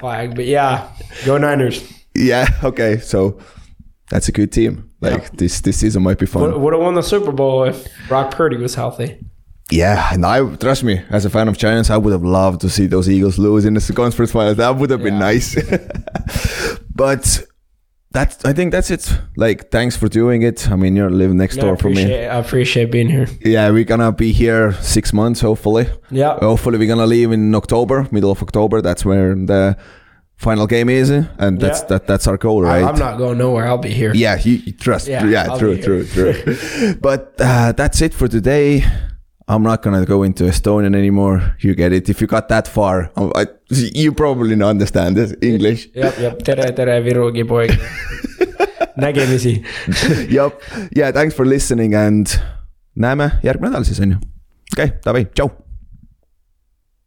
[SPEAKER 2] (laughs)
[SPEAKER 3] flag. But yeah, go Niners.
[SPEAKER 2] (laughs) Yeah. Okay. So that's a good team. Like this this season might be fun.
[SPEAKER 3] Would have won the Super Bowl if Brock Purdy was healthy.
[SPEAKER 2] Yeah, and I trust me, as a fan of Giants, I would have loved to see those Eagles lose in the conference finals. That would have been
[SPEAKER 3] Yeah.
[SPEAKER 2] nice. (laughs) but that's I think that's it. Like, thanks for doing it. I mean, you're living next
[SPEAKER 3] I
[SPEAKER 2] door for
[SPEAKER 3] appreciate,
[SPEAKER 2] me.
[SPEAKER 3] I appreciate being here.
[SPEAKER 2] Yeah, we're gonna be here six months, hopefully.
[SPEAKER 3] Yeah.
[SPEAKER 2] Hopefully, we're gonna leave in October, middle of October. That's where the final game is, and that's
[SPEAKER 3] Yeah.
[SPEAKER 2] that that's our goal,
[SPEAKER 3] I-
[SPEAKER 2] right?
[SPEAKER 3] I'm not going nowhere. I'll be here.
[SPEAKER 2] Yeah, you, you trust. Yeah,
[SPEAKER 3] Yeah, I'll
[SPEAKER 2] true,
[SPEAKER 3] be
[SPEAKER 2] true,
[SPEAKER 3] (laughs)
[SPEAKER 2] true. but uh, that's it for today. I'm not gonna go into Estonian anymore. You get it. If you got that far, um, I, you probably don't understand this
[SPEAKER 3] (laughs)
[SPEAKER 2] English.
[SPEAKER 3] Yep, yep. Tere, tere,
[SPEAKER 2] (laughs)
[SPEAKER 3] virugi boy. nägemisi .
[SPEAKER 2] yep. Yeah. Thanks for listening and näeme järgmine nädal siis onju. okei okay, , davai , tšau .